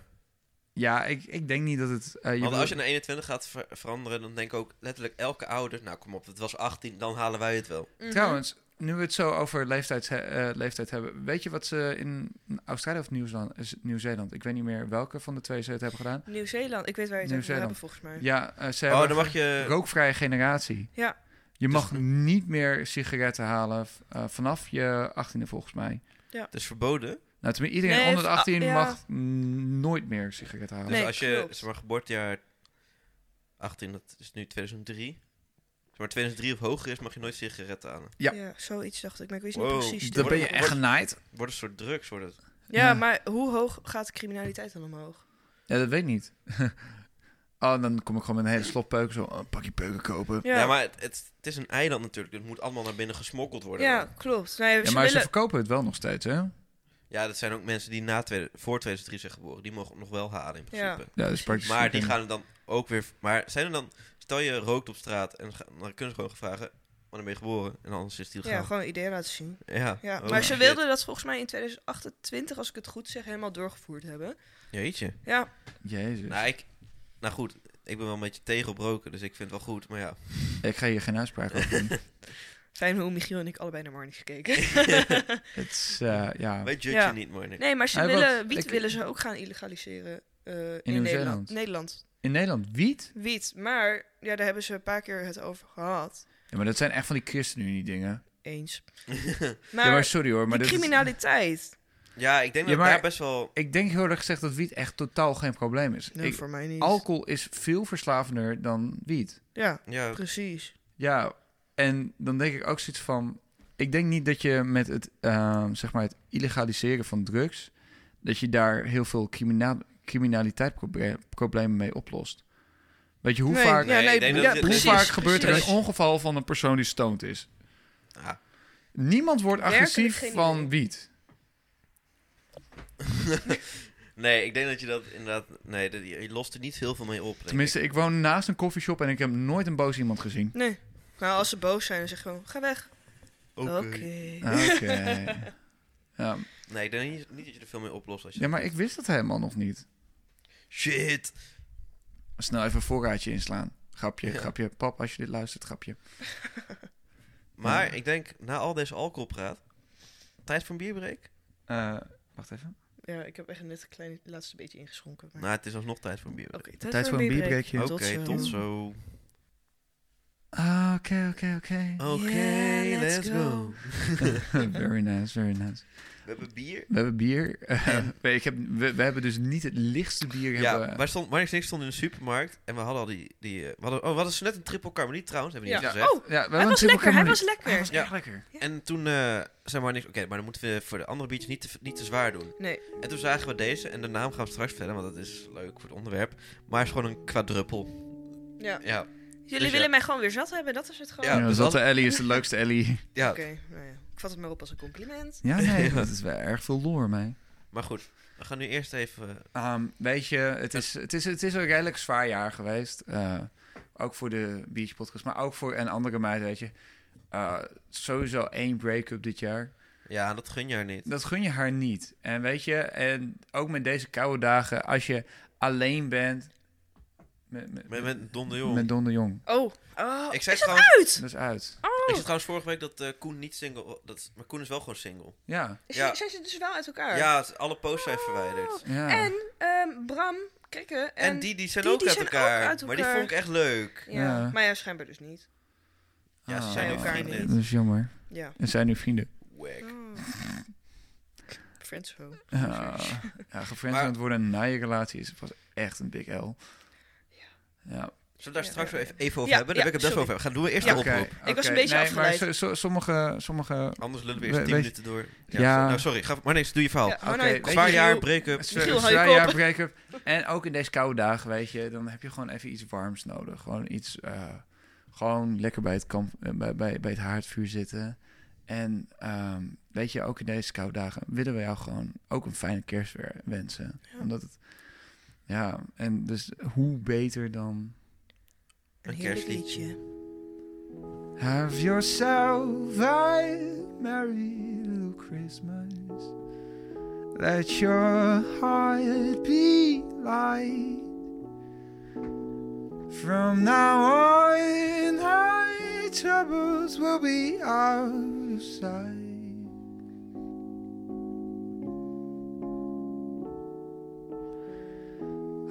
Ja, ik, ik denk niet dat het... eh, je
want
wil-
als je naar 21 gaat ver- veranderen, dan denk ik ook letterlijk elke ouder... Nou, kom op, het was 18, dan halen wij het wel.
Mhm.
Trouwens, nu we het zo over leeftijd, eh, leeftijd hebben, weet je wat ze in Australië of Nieuwzeeland, is het Nieuw-Zeeland, ik weet niet meer welke van de twee ze het hebben gedaan.
Nieuw-Zeeland. Ik weet waar je het over
Nieuw-Zeeland.
hebben, volgens mij.
Ja, eh, ze
Oh,
hebben
dan mag je...
rookvrije generatie.
Ja.
Je
Dus-
mag niet meer sigaretten halen v- eh, vanaf je 18e volgens mij.
Het is verboden.
Nou, tenminste, iedereen
Nee,
onder de
v-
18
ah, ja.
mag mm, nooit meer sigaretten halen.
Dus
Nee,
als je,
klopt.
zeg maar, geboortejaar 18, dat is nu 2003... Zeg maar 2003 of hoger is, mag je nooit sigaretten aan.
Ja.
zoiets dacht ik, maar ik wist
Wow.
niet precies.
Dan
Wordt-
ben je echt
wordt-
genaaid.
Het wordt een soort drugs, wordt het.
Ja,
Ja.
maar hoe hoog gaat de criminaliteit dan omhoog?
Ja, dat weet ik niet. oh, dan kom ik gewoon met een hele slop peuken. Zo, oh, pak je peuken kopen.
Ja,
Ja,
maar het, het, het is een eiland natuurlijk. dus Het moet allemaal naar binnen gesmokkeld worden.
Ja, klopt. Nee,
Ja,
ze
maar ze
willen...
verkopen het wel nog steeds, hè?
Ja, dat zijn ook mensen die na tweede, voor 2003 zijn geboren. Die mogen nog wel halen in principe.
Ja, dat is dus praktisch.
Maar die
geen-
gaan er dan ook weer... Maar zijn er dan... Stel je rookt op straat en ga- dan kunnen ze gewoon vragen... Wanneer ben je geboren? En anders is die
Ja,
legaal.
gewoon ideeën laten zien.
Ja, ja.
Ja,
Oh,
maar ze
shit.
wilden dat volgens mij in 2028, als ik het goed zeg, helemaal doorgevoerd hebben.
Jeetje.
Ja,
Jezus.
Nou, ik... Nou goed, ik ben wel een beetje tegen op roken, dus ik vind het wel goed. Maar ja,
Ik ga hier geen uitspraak over doen.
fijn hoe Michiel en ik allebei naar Marnix gekeken.
Het is, eh, ja...
wij judgen
Ja.
niet, maar nee.
Nee, maar ze
Hij
willen,
wat-
wiet
ik-
willen ze ook gaan illegaliseren eh, in,
Nieuw-Zeeland.
Nederland. Nederland.
In Nederland, wiet?
Wiet, maar ja, daar hebben ze een paar keer het over gehad.
Ja, maar dat zijn echt van die ChristenUnie dingen.
Eens.
Maar,
Maar,
ja, maar sorry hoor, maar
die
dit is-
criminaliteit.
Ja, ik denk
Ja,
dat
maar-
daar best wel...
ik denk heel erg gezegd dat wiet echt totaal geen probleem is.
Nee,
Ik-
voor mij niet.
alcohol is veel verslavender dan wiet.
Ja,
Ja,
precies.
Ja, en dan denk ik ook zoiets van... Ik denk niet dat je met het, ehm, zeg maar het illegaliseren van drugs... dat je daar heel veel criminaliteit criminaliteitsproblemen mee oplost. Weet je, hoe
Nee,
vaak,
ja,
Nee,
nee,
ik denk
ja,
dat dit-
hoe
precies,
vaak gebeurt er
precies.
een ongeval van een persoon die stoned is?
ah,
Niemand wordt
Werkelijk
agressief
geen
van
idee.
wiet.
Nee, ik denk dat je dat inderdaad... Nee, dat- je je lost er niet heel veel mee op. denk ik.
Tenminste, ik woon naast een koffieshop en ik heb nooit een boos iemand gezien.
Nee. Nou, als ze boos zijn, dan zeg je gewoon, ga weg. Oké.
eh,
Oké. ja.
Nee, ik denk niet, niet dat je er veel mee oplost als je...
ja, maar ik wist dat helemaal nog niet.
Shit!
Snel even een voorraadje inslaan. Grapje,
Ja.
grapje. Pap, als je dit luistert, grapje.
Maar
Ja.
ik denk, na al deze alcoholpraat... Tijd voor een bierbreak?
Eh, wacht even.
Ja, ik heb echt net een klein laatste beetje ingeschonken. Maar...
Nou, het is alsnog tijd voor een bierbreak.
Oké,
Tijd voor een bierbreekje.
Oké, tot zo.
Ah, Oké, oké, oké.
Oké,
Yeah,
let's,
let's
go.
go.
Very nice, very nice.
We hebben bier.
We hebben bier. Eh, nee, ik heb, we, we hebben dus niet het lichtste bier.
Ja,
hebben.
waar stond, Marnix en ik stonden in de supermarkt en we hadden al die... die eh, we hadden, oh, we hadden zo net een triple carmeliet trouwens, hebben we
Ja.
niet gezegd.
Oh,
ja, we hebben
hij
een
was
triple
lekker, hij
Cabernet.
was lekker.
Hij was echt lekker.
En toen eh zei Marnix, oké, maar dan moeten we voor de andere biertjes niet te, niet te zwaar doen.
Nee.
En toen zagen we deze en de naam gaan we straks vertellen, want dat is leuk voor het onderwerp. Maar het is gewoon een quadruppel.
Ja.
Ja,
Jullie
Dus ja.
willen mij gewoon weer zat hebben, dat is het gewoon.
Ja,
Ja,
dus
dus
dat de
dat-
Ellie is de leukste Ellie.
Ja,
Oké, nou ja. ik vat het maar op als een compliment.
Ja, nee, dat is wel erg veel lore mee.
maar goed. We gaan nu eerst even... eh,
Ehm, weet je, het is, het, is, het is een redelijk zwaar jaar geweest. Eh, ook voor de Beach Podcast, maar ook voor een andere meid, weet je. Eh, sowieso één break-up dit jaar.
ja, dat gun je haar niet.
Dat gun je haar niet. En weet je, en ook met deze koude dagen, als je alleen bent... Met, met,
Met, met Don de Jong.
met Don de Jong.
Oh, oh.
Ik zei
is dat
trouwens-
Dat
uit?
is uit.
Oh,
Ik zei trouwens vorige week dat eh, Koen niet single... Dat, is- maar Koen is wel gewoon single.
Ja.
Is-
Ja.
zijn ze dus wel uit elkaar?
Ja, het- alle posts zijn verwijderd.
Oh.
ja.
En ehm, Bram, Krikke en...
En, die, die zijn
die-
ook
die
uit
zijn ook
elkaar.
uit
Maar die
elkaar.
vond ik echt leuk.
ja.
Ja.
Maar ja, schijnbaar dus niet.
Ja, ze
Ah.
zijn nu
elkaar
vrienden.
niet.
Dat is jammer.
Ja. Oh.
En zijn nu vrienden.
Wack.
Friendzone.
Ja, Ah. ja gefriendzoned
Maar-
worden na je relatie is was echt een big L. Ja.
Zullen we daar
Ja,
straks
ja,
wel
ja.
even, even over
Ja,
hebben? Daar
ja,
wil ik het best wel
sorry.
over hebben. Gaan doen we eerst
Ja.
de oproep.
oké.
was een beetje
nee,
afgeleid.
Maar so- so- sommige... sommige
Anders lullen we
We-
eerst tien
weet-
minuten door. Ja.
Ja.
Nou, sorry. Ga, maar nee, doe je verhaal.
Ja, oh,
Oké,
nee,
weet
Zwaar
je-
jaar, break-up.
s-
Michiel, hou je
zwaar jaar
kop.
break-up. En ook in deze koude dagen, weet je, dan heb je gewoon even iets warms nodig. Gewoon iets... eh, gewoon lekker bij het, kamp, eh, bij, bij, bij het haardvuur zitten. En ehm, weet je, ook in deze koude dagen willen we jou gewoon ook een fijne kerst weer wensen.
Ja.
Omdat het... Ja, en dus hoe beter dan...
Een
Een
heerlijk
kerstliedje.
liedje.
Have yourself a merry little Christmas. Let your heart be light. From now on, our troubles will be out of sight.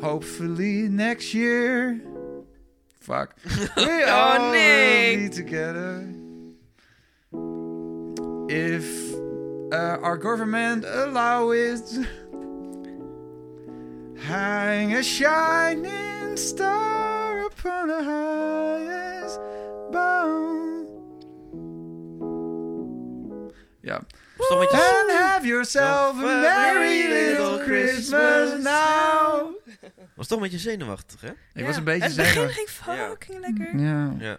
Hopefully next year. Fuck. We
Oh,
all be
nee.
together. If uh, our government allow it. Hang a shining star upon the highest bough. Ja.
Stop met je...
And have yourself a merry little Christmas now.
Was toch een beetje zenuwachtig, hè?
Ik
Ja.
was een beetje
Het begin
zeker.
ging fucking lekker.
Ja.
Ja.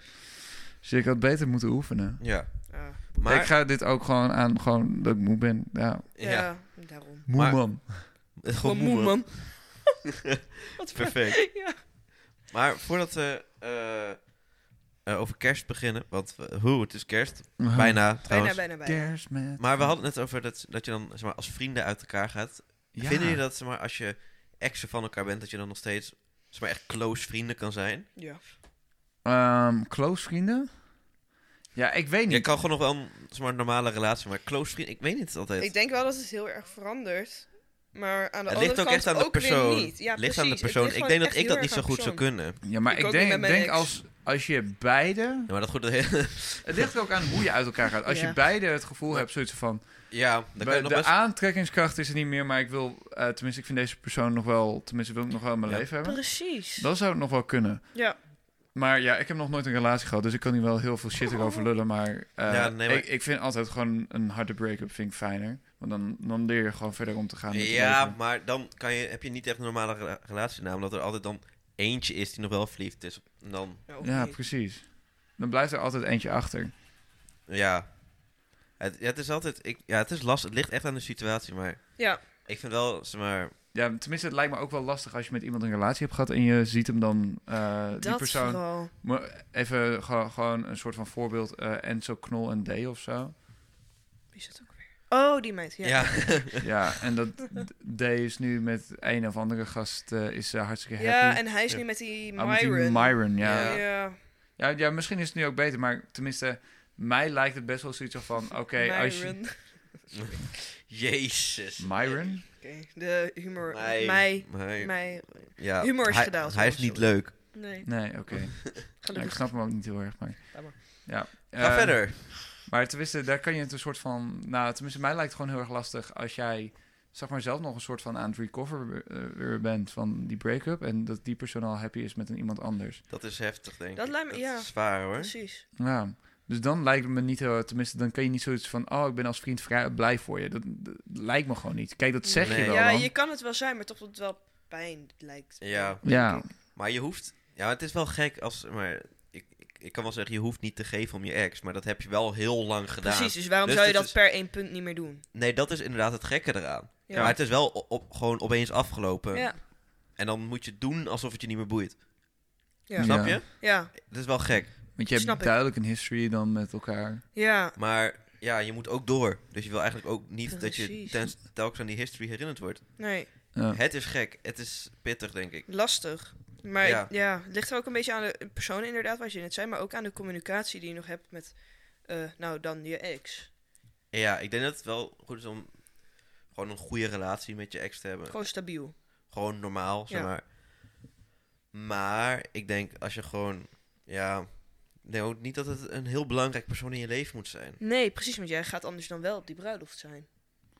Dus ik had beter moeten oefenen.
Ja.
Ah,
Maar...
ik ga dit ook gewoon aan, gewoon dat ik moe ben. Ja.
ja.
ja.
daarom.
Moe
Maar-
man.
Gewoon moe, man.
Wat voor...
Perfect.
Ja.
Maar voordat we eh, eh, over kerst beginnen, want we- hoe, het is kerst.
Oh. Aha.
Bijna, trouwens.
Bijna, bijna, bijna.
Kerstmis.
Maar we hadden het net over dat, dat je dan zeg maar, als vrienden uit elkaar gaat.
Ja.
Vinden jullie dat zeg maar, als je exen van elkaar bent, dat je dan nog steeds zeg maar, echt close vrienden kan zijn?
Ja.
Ehm, close vrienden? Ja, ik weet
Je
niet.
kan gewoon nog wel een zeg maar, normale relatie, maar close vrienden, ik weet niet altijd.
Ik denk wel dat het heel erg verandert. Maar aan de
het
andere
ligt ook
kant
echt aan de
ook weer
persoon.
niet. Ja,
Het ligt aan de
precies. Het
persoon.
ligt
Ik
gewoon
denk dat
echt
ik dat
heel
niet zo
erg aan
goed zou
persoon.
kunnen.
Ja, maar
Ik
ik,
ook
denk,
niet met mijn
denk
ex.
als, als je beide...
Ja, maar dat goed.
Het ligt ook aan hoe je uit elkaar gaat. Als
Ja.
je beide het gevoel hebt, zoiets van...
ja, dan kan
Bij-
je nog
de
best.
aantrekkingskracht is er niet meer, maar ik wil, eh, tenminste, ik vind deze persoon nog wel, tenminste, wil ik nog wel in mijn
Ja.
leven hebben.
Precies.
Dan zou het nog wel kunnen.
Ja.
Maar ja, ik heb nog nooit een relatie gehad, dus ik kan hier wel heel veel shit erover lullen. Maar, eh,
Ja, nee, maar-
Ik, ik vind altijd gewoon een harde break-up vind ik fijner. Want dan, dan leer je gewoon verder om te gaan. met je
Ja,
leven.
maar dan kan je, heb je niet echt een normale rela- relatie, namelijk dat er altijd dan eentje is die nog wel verliefd is. En dan,
Ja, of
ja
niet.
precies. Dan blijft er altijd eentje achter.
ja. Het, ja, het is altijd, ik, ja, het is lastig. Het ligt echt aan de situatie, maar
Ja.
ik vind wel, zeg maar,
Ja, tenminste, het lijkt me ook wel lastig als je met iemand een relatie hebt gehad en je ziet hem dan, eh, die
Dat
persoon.
vooral.
Maar Even gewoon, gewoon een soort van voorbeeld, en Enzo Knol en D of zo.
Wie is dat ook weer? Oh, die meid. Ja.
ja.
Ja, en dat D is nu met een of andere gast eh, is eh, hartstikke happy.
Ja, en hij is nu
Ja.
met die
Oh, met die
Myron.
Myron, ja.
Ja.
Ja. Ja, misschien is het nu ook beter, maar tenminste, mij lijkt het best wel zoiets van, oké, als je...
Myron. Oké,
Jezus.
Myron?
de humor.
Mij.
Mij.
Mij.
Mij.
Ja.
Humor is
hij,
gedaald,
Hij is
sorry.
niet leuk.
Nee,
Nee, oké. Nou, ik
gelukkig.
snap hem ook niet heel erg, maar...
Laat maar.
Ja.
Ga
eh,
verder.
Maar tenminste, daar kan je het een soort van... Nou, tenminste, mij lijkt het gewoon heel erg lastig als jij... Zeg maar zelf nog een soort van aan het recover eh, weer bent van die break-up. En dat die persoon al happy is met een iemand anders.
Dat is heftig, denk ik.
Dat lijkt me- ja.
is zwaar, hoor.
Precies.
Ja, dus dan lijkt het me niet heel... Tenminste, dan kan je niet zoiets van... Oh, ik ben als vriend vrij, blij voor je. Dat, dat lijkt me gewoon niet. Kijk, dat zeg je
Nee.
wel
Ja,
dan.
je kan het wel zijn, maar toch doet het wel pijn lijkt.
Ja.
Denk
Ja.
ik.
Maar je hoeft... Ja, het is wel gek als... Maar ik kan wel zeggen, je hoeft niet te geven om je ex, maar dat heb je wel heel lang gedaan.
Precies, dus waarom
Dus
zou je
dit
dat
is-
per één punt niet meer doen?
Nee, dat is inderdaad het gekke eraan.
Ja.
Maar het is wel o- op, gewoon opeens afgelopen.
Ja,
En dan moet je doen alsof het je niet meer boeit.
ja, ja.
Snap je?
ja.
Dat is wel gek.
Want je hebt
Snap ik.
duidelijk een history dan met elkaar.
Maar ja, je moet ook door. Dus je wil eigenlijk ook niet dat je
Precies.
tens- telkens aan die history herinnerd wordt.
Nee,
Ja.
Het is gek. Het is pittig, denk ik.
lastig. Maar
Ja.
ja. het ligt er ook een beetje aan de persoon inderdaad, wat je net zei, maar ook aan de communicatie die je nog hebt met, eh, nou dan je ex.
Ja, ik denk dat het wel goed is om gewoon een goede relatie met je ex te hebben.
Gewoon stabiel.
Gewoon normaal, zeg
Ja.
maar. Maar ik denk als je gewoon, ja, ik denk ook niet dat het een heel belangrijk persoon in je leven moet zijn.
Nee, precies, want jij gaat anders dan wel op die bruiloft zijn.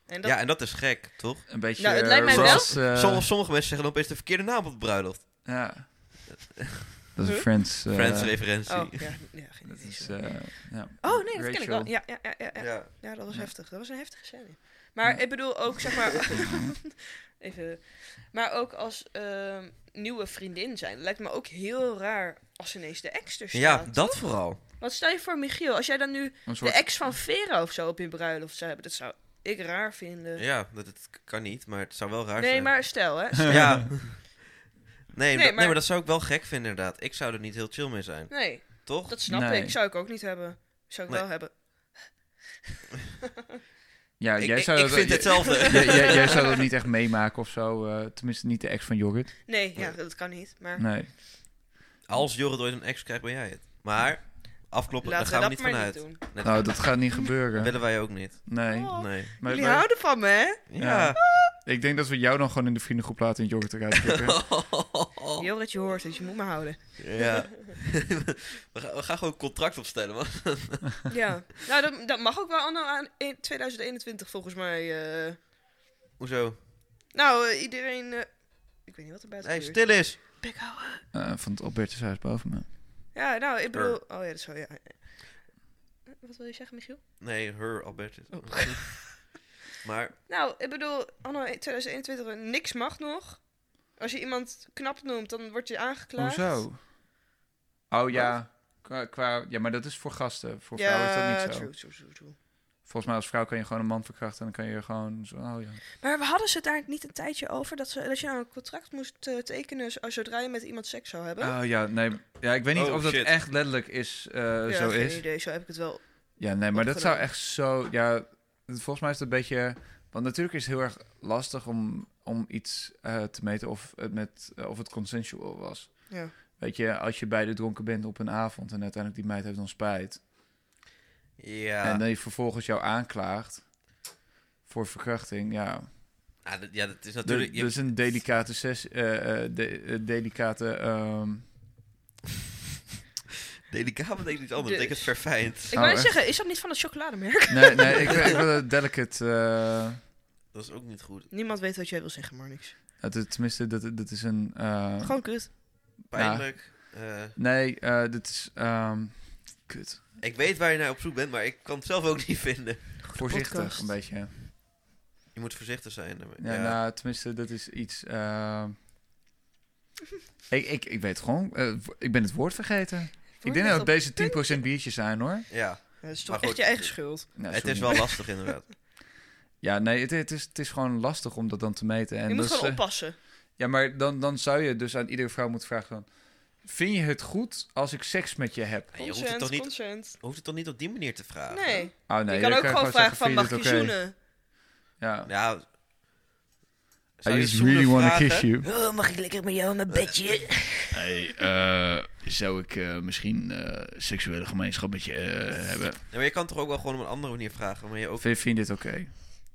En dat,
Ja, en dat is gek, toch?
Een beetje
Nou, het
eh,
lijkt mij wel-
zoals, eh,
Sommige, sommige mensen zeggen dan opeens de verkeerde naam op de bruiloft.
Ja. Dat is een
Huh?
Friends. eh,
Friends-referentie.
Oh, ja, ja, geen
Dat
idee.
is,
sorry.
eh, ja.
oh nee, dat ken ik wel.
Rachel.
Ja, ja, ja, ja, ja.
ja.
Ja, dat was
Ja.
heftig. Dat was een heftige scène. Maar
Ja.
ik bedoel ook, zeg maar... even... Maar ook als ehm, nieuwe vriendin zijn. lijkt me ook heel raar als ineens de ex er staat.
Ja, dat vooral.
Want stel je voor, Michiel, als jij dan nu
Een
de
soort
ex van Vera of zo op je bruiloft zou hebben. Dat zou ik raar vinden.
Ja, dat, het kan niet, maar het zou wel raar
nee,
zijn.
maar stel, hè.
Ja. Nee, dat- nee, maar...
maar-
dat zou ik wel gek vinden inderdaad. Ik zou er niet heel chill mee zijn,
Nee,
toch?
dat snap
Nee.
ik. Zou ik ook niet hebben. Zou ik
Nee.
wel hebben.
Ja,
ik,
jij
ik-
zou
ik
dat,
vind
jij-
hetzelfde.
jij, jij- jij zou dat niet echt meemaken of zo. eh, tenminste, niet de ex van Jorrit.
Nee, ja,
Nee.
dat kan niet. Maar
Nee.
Als Jorrit ooit een ex krijgt, ben jij het. Maar, afkloppen, daar
laten we
gaan we
dat
niet
maar
vanuit.
niet doen.
Nee,
Nou, dat gaat niet
dat
gebeuren.
willen wij ook niet.
Nee.
Oh,
Nee.
Maar,
Jullie
maar-
houden van me, hè?
Ja.
ik denk dat we jou dan gewoon in de vriendengroep laten en Jorrit eruit pikken.
Oh.
Joh, dat je hoort, dus je moet me houden.
Ja. we, gaan, we gaan gewoon een contract opstellen, man.
Ja, nou dat, dat mag ook wel anno aan in 2021 volgens mij. eh.
Hoezo?
nou, eh, iedereen... eh, ik weet niet wat er buiten
Hey,
gebeurt.
stil is.
Bek houden.
Eh, van het Albertus huis boven me.
Ja, nou, ik bedoel... Oh ja, dat is wel... Ja. Wat wil je zeggen, Michiel?
Nee, her, Albertus.
Oh.
maar,
Nou, ik bedoel, anno 2021, niks mag nog. Als je iemand knap noemt, dan word je aangeklaagd.
Hoezo? Oh ja. Qua, qua- ja, maar dat is voor gasten. Voor
Ja,
vrouwen is dat niet zo.
true, true, true, true.
Volgens mij als vrouw kan je gewoon een man verkrachten en dan kan je gewoon zo. Oh ja.
Maar we hadden ze daar niet een tijdje over dat, ze, dat je nou een contract moest eh, tekenen zo- zodra je met iemand seks zou hebben?
Oh ja, nee. Ja, ik weet niet
Oh,
of dat
shit.
echt letterlijk is, eh,
ja,
zo
geen
is.
idee, zo heb ik het wel.
Ja, nee, maar dat
Opgenomen.
zou echt zo. Ja, volgens mij is het een beetje. Want natuurlijk is het heel erg lastig om, om iets eh, te meten of het, met, eh, of het consensual was.
Ja.
Weet je, als je beide dronken bent op een avond en uiteindelijk die meid heeft dan spijt.
ja.
En dan je vervolgens jou aanklaagt voor verkrachting. Ja,
Ah, dat- ja, dat is
Dus
natuurlijk... je-
is een delicate sessie. eh, eh, de- eh, delicate. ehm,
Delicaat betekent iets anders. Dat
Dus.
betekent verfijnd.
Ik
Oh,
wou net
echt?
zeggen, is dat niet van het chocolademerk?
nee, nee, ik, wil- ik wil het delicate. eh,
Dat is ook niet goed.
Niemand weet wat jij wil zeggen, maar niks.
het is- tenminste, dat, dat is een. eh,
Gewoon kut.
Pijnlijk. Eh,
Nee, eh, dit is. ehm, kut.
ik weet waar je naar op zoek bent, maar ik kan het zelf ook niet vinden.
Voorzichtig
podcast.
een beetje.
Je moet voorzichtig zijn. daarmee.
Ja,
Ja.
Nou, tenminste, dat is iets. ehm, ik, ik, ik weet het gewoon. eh, wo- ik ben het woord vergeten. Ik denk dat deze 10% biertjes zijn hoor.
Ja,
Dat is
Maar
toch
goed,
echt je eigen schuld.
Nou,
het
sorry.
is wel lastig inderdaad.
Ja, nee, het, het, is, het is gewoon lastig om dat dan te meten. En
je moet
dat is,
gewoon
eh,
oppassen.
Ja, maar dan, dan zou je dus aan iedere vrouw moeten vragen: van, Vind je het goed als ik seks met je heb?
En je hoeft het
Consent,
toch niet,
consent.
hoeft het toch niet op die manier te vragen?
Nee.
Oh nee,
je kan ook gewoon vragen van, mag je
je
zoenen?
Ja.
Ja.
I
Zou je
just
zoenen
really want to
vragen?
kiss you.
Oh, mag ik lekker met jou in mijn
Eh,
bedje?
Hey, eh, zou ik eh, misschien eh, seksuele gemeenschap met je eh, hebben?
Ja, maar je kan toch ook wel gewoon op een andere manier vragen. waarmee je ook...
Vind vind je dit oké?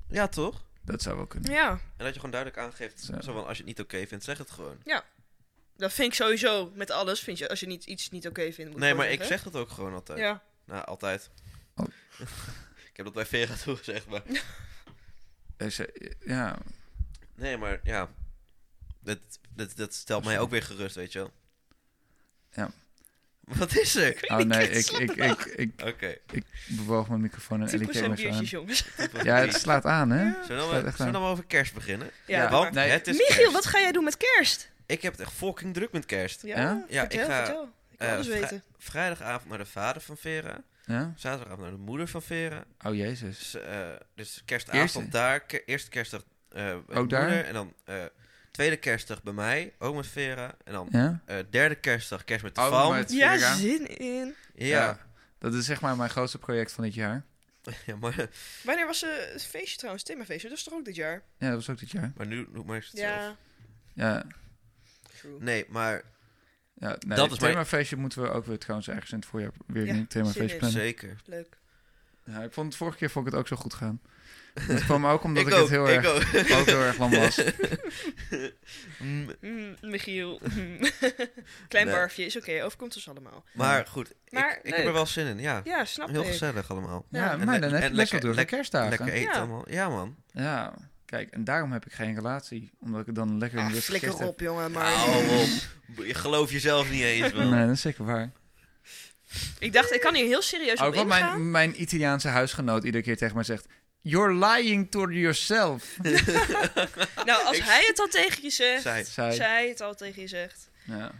Ja, toch?
Dat zou wel kunnen.
Ja,
En dat je gewoon duidelijk aangeeft.
Zo.
Zo. van, als je het niet oké vindt, zeg het gewoon.
dat vind ik sowieso met alles. Vind je, als je niet, iets niet oké vindt, moet je
Nee,
gewoon
maar ik
zeggen.
zeg dat ook gewoon altijd.
Ja,
Nou, altijd.
Oh.
ik heb dat bij Vera toegezegd, maar...
Dus, eh, ja,
Nee, maar ja. Dat, dat, dat stelt mij ook weer gerust, weet je wel.
Ja.
Wat is er?
oh nee, ik, ik, ik, ik
Oké.
bewoog mijn microfoon en
10%
Ellie keek me zo aan.
biertjes, jongens.
Ja, het slaat aan, hè?
Zullen we,
slaat echt
zullen we
aan.
dan maar over kerst beginnen?
Ja,
Ja,
doe
Want
maar.
nee.
het is
Michiel,
kerst.
wat ga jij doen met kerst?
Ik heb het echt fucking druk met kerst.
Ja,
Ja?
Ja, ik
vertel,
ga- eh,
vertel. Ik wil alles
vrij-
weten.
vrijdagavond naar de vader van Vera.
Ja?
Zaterdagavond naar de moeder van Vera.
Oh, jezus.
Dus, eh, dus kerstavond
Eerste?
daar. Ke eerste kerstdag eh bij mijn
daar?
moeder. En dan eh, tweede kerstdag bij mij, ook met Vera. En dan
Ja?
eh, derde kerstdag kerst met de
Oh,
Valm.
met-
Ja,
Vera.
zin in.
Ja.
Dat is zeg maar mijn grootste project van dit jaar.
ja, maar,
Wanneer was eh, het feestje trouwens? Themafeestje, dat is toch ook dit jaar?
Ja, dat was ook dit jaar.
maar nu noem maar eens het zelf.
Ja,
Ja.
true.
Nee, maar
ja nee,
Dat
dat
is
is themafeestje moeten we ook weer trouwens ergens in het voorjaar weer
Ja,
een
zin
themafeestje
in.
plannen.
zeker.
Leuk.
Ja, ik vond het vorige keer vond ik het ook zo goed gaan. Dat kwam ook omdat
ik,
ik,
ook,
het heel
ik
erg,
ook.
ook heel erg lang was.
Mm,
Mm, Michiel. mm. Klein
Nee.
barfje, is oké, overkomt ons allemaal.
maar goed,
Maar
ik, ik heb er
leuk.
wel zin in, ja.
Ja, snap
Heel
ik.
gezellig allemaal.
Ja,
En
maar
le-
dan heb
en
je best
lekker-
wel door de
lekker-
kerstdagen.
Lekker eten
Ja.
allemaal. Ja, man.
Ja, kijk, en daarom heb ik geen relatie. Omdat ik dan lekker in
Ah,
de
flikker op, jongen. Maar
Hou op. Je gelooft jezelf niet eens, man.
Nee, dat is zeker waar.
ik dacht, ik kan hier heel serieus op
Ook wat
ingaan.
Oh, mijn, mijn Italiaanse huisgenoot iedere keer tegen mij zegt... You're lying to yourself,
Nou, als hij het al tegen je zegt,
Zij.
zei
zij het al tegen je zegt.
Ja.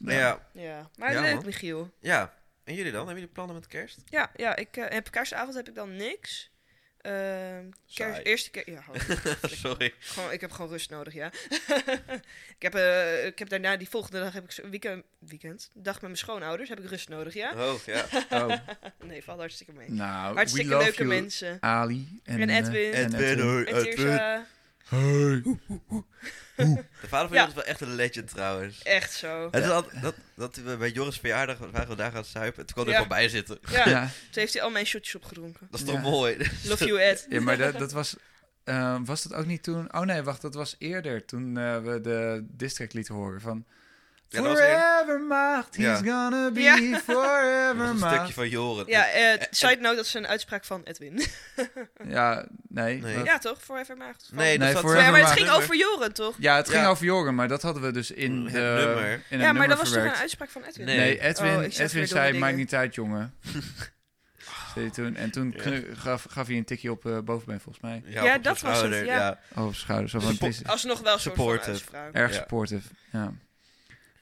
Nou ja,
Ja, maar
Ja,
leuk,
man.
Michiel.
ja. En jullie dan? Hebben jullie plannen met kerst?
Ja, ja ik eh, heb kerstavond heb ik dan niks. Ehm kerst,
Saai.
eerste keer. Ja, hou op.
Sorry.
gewoon, ik heb gewoon rust nodig, ja. ik, heb, eh, ik heb daarna die volgende dag heb ik zo- weekend, weekend, dag met mijn schoonouders, heb ik rust nodig, ja.
Oh, ja.
Oh,
Nee, valt hartstikke mee.
nou,
hartstikke
we love
leuke
you,
mensen. eh,
Ali en,
En
eh,
Edwin.
en
Edwin, hoor.
En Tirza,
Hey.
De vader van
Ja.
Joris is wel echt een legend, trouwens.
echt zo.
Het is altijd, dat, dat we bij Joris verjaardag waren we daar gaan suipen. en Toen kon hij
Ja.
gewoon bij zitten.
Ja,
Ja.
toen heeft hij al mijn shotjes opgedronken.
Dat is toch
Ja.
mooi? Dus
Love you, Ed.
ja, maar dat, dat was... eh, was dat ook niet toen? Oh nee, wacht, dat was eerder. Toen eh, we de district lieten horen van...
Ja, dat was eerder.
forever macht, he's gonna be
Ja.
Dat was
forever
een stukje
macht.
van Joris.
Ja, eh, side note, dat is een uitspraak van Edwin.
Ja, nee.
Nee.
wat-
Ja, toch? Forever Maagd. van-
Nee, nou, dat
Nee,
zat-
Forever
Ja, maar het
Maagd.
ging over Joren, toch?
Ja, het ging
Ja.
over Joren, maar dat hadden we dus in,
Het
de, in
nummer.
een
Ja, maar
nummer
dat was toch
verwerkt.
een uitspraak van Edwin?
Nee.
Nee, Edwin,
Oh, ik zeg weer
Edwin
domme
zei,
dingen.
maakt niet uit, jongen. Zei hij toen, en toen
Ja.
knu- gaf, gaf hij een tikje op eh bovenbeen, volgens mij.
Ja,
op
dat
zijn
was het,
schouder,
ja.
Oh, op schouder. Zo van, het is
Alsnog wel een soort van
Supportive.
uitspraak.
erg
Ja.
supportive. Ja.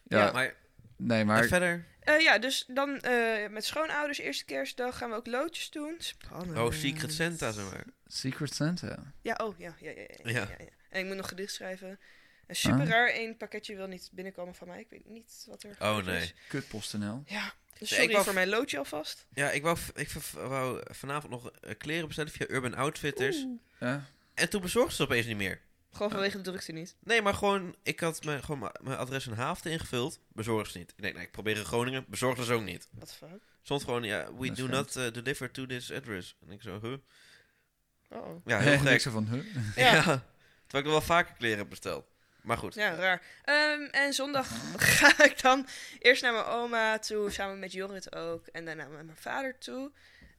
Ja,
Ja.
Maar,
nee,
en
maar...
verder?
Eh, ja, dus dan eh, met schoonouders eerste kerstdag gaan we ook loodjes doen. Spannend.
Oh, Secret Santa, zeg maar.
Secret Santa.
Ja, oh, ja. ja, ja, ja, ja,
Ja.
ja, ja. En ik moet nog gedicht schrijven. En super
Ah.
raar, één pakketje wil niet binnenkomen van mij. Ik weet niet wat er
Oh,
gebeurd
nee.
is.
Kutpost.nl.
Ja, dus
Nee,
sorry
ik wou-
voor mijn loodje alvast.
Ja, ik wou, v- ik v- wou vanavond nog eh, kleren bestellen via Urban Outfitters.
Ja.
En toen bezorgden ze opeens niet meer.
Gewoon vanwege de drukte niet.
Nee, maar gewoon, ik had mijn, gewoon mijn- mijn adres in Haafden ingevuld. Bezorgden ze niet. Ik denk, nee, ik probeer in Groningen. Bezorgden ze ook niet.
What the fuck?
Stond gewoon, ja, we
Dat
do
is
not eh, deliver to this address. En ik zo, huh?
Oh, oh.
Ja, heel
Ik
gek.
zo van, huh?
Ja.
Ja.
Terwijl ik er wel vaker kleren heb besteld. Maar goed.
Ja, raar. Ehm, en zondag ga ik dan eerst naar mijn oma toe, samen met Jorrit ook. En daarna naar mijn vader toe.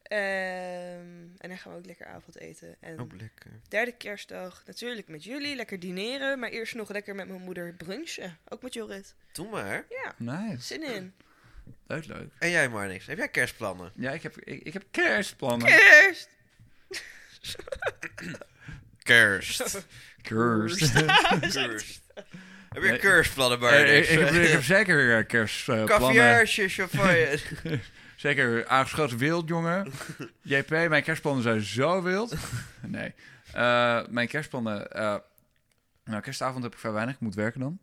Ehm, en dan gaan we ook lekker avond eten. En
Oh, lekker.
derde kerstdag natuurlijk met jullie, lekker dineren. Maar eerst nog lekker met mijn moeder brunchen. Ook met Jorrit.
Doe maar.
Ja,
Nice.
zin in.
Leuk, leuk.
En jij maar niks. Heb jij kerstplannen?
Ja, ik heb, ik, ik heb kerstplannen.
Kerst!
Kerst.
Kerst.
kerst. Heb je
Nee.
kerstplannen, maar
Eh, ik,
niks?
ik, heb, ik heb zeker eh, kerstplannen.
Caviaartje, champagne.
Zeker aangeschoten wild, jongen. JP, mijn kerstplannen zijn zo wild. Nee. Eh, mijn kerstplannen... eh, nou, kerstavond heb ik vrij weinig. Ik moet werken dan.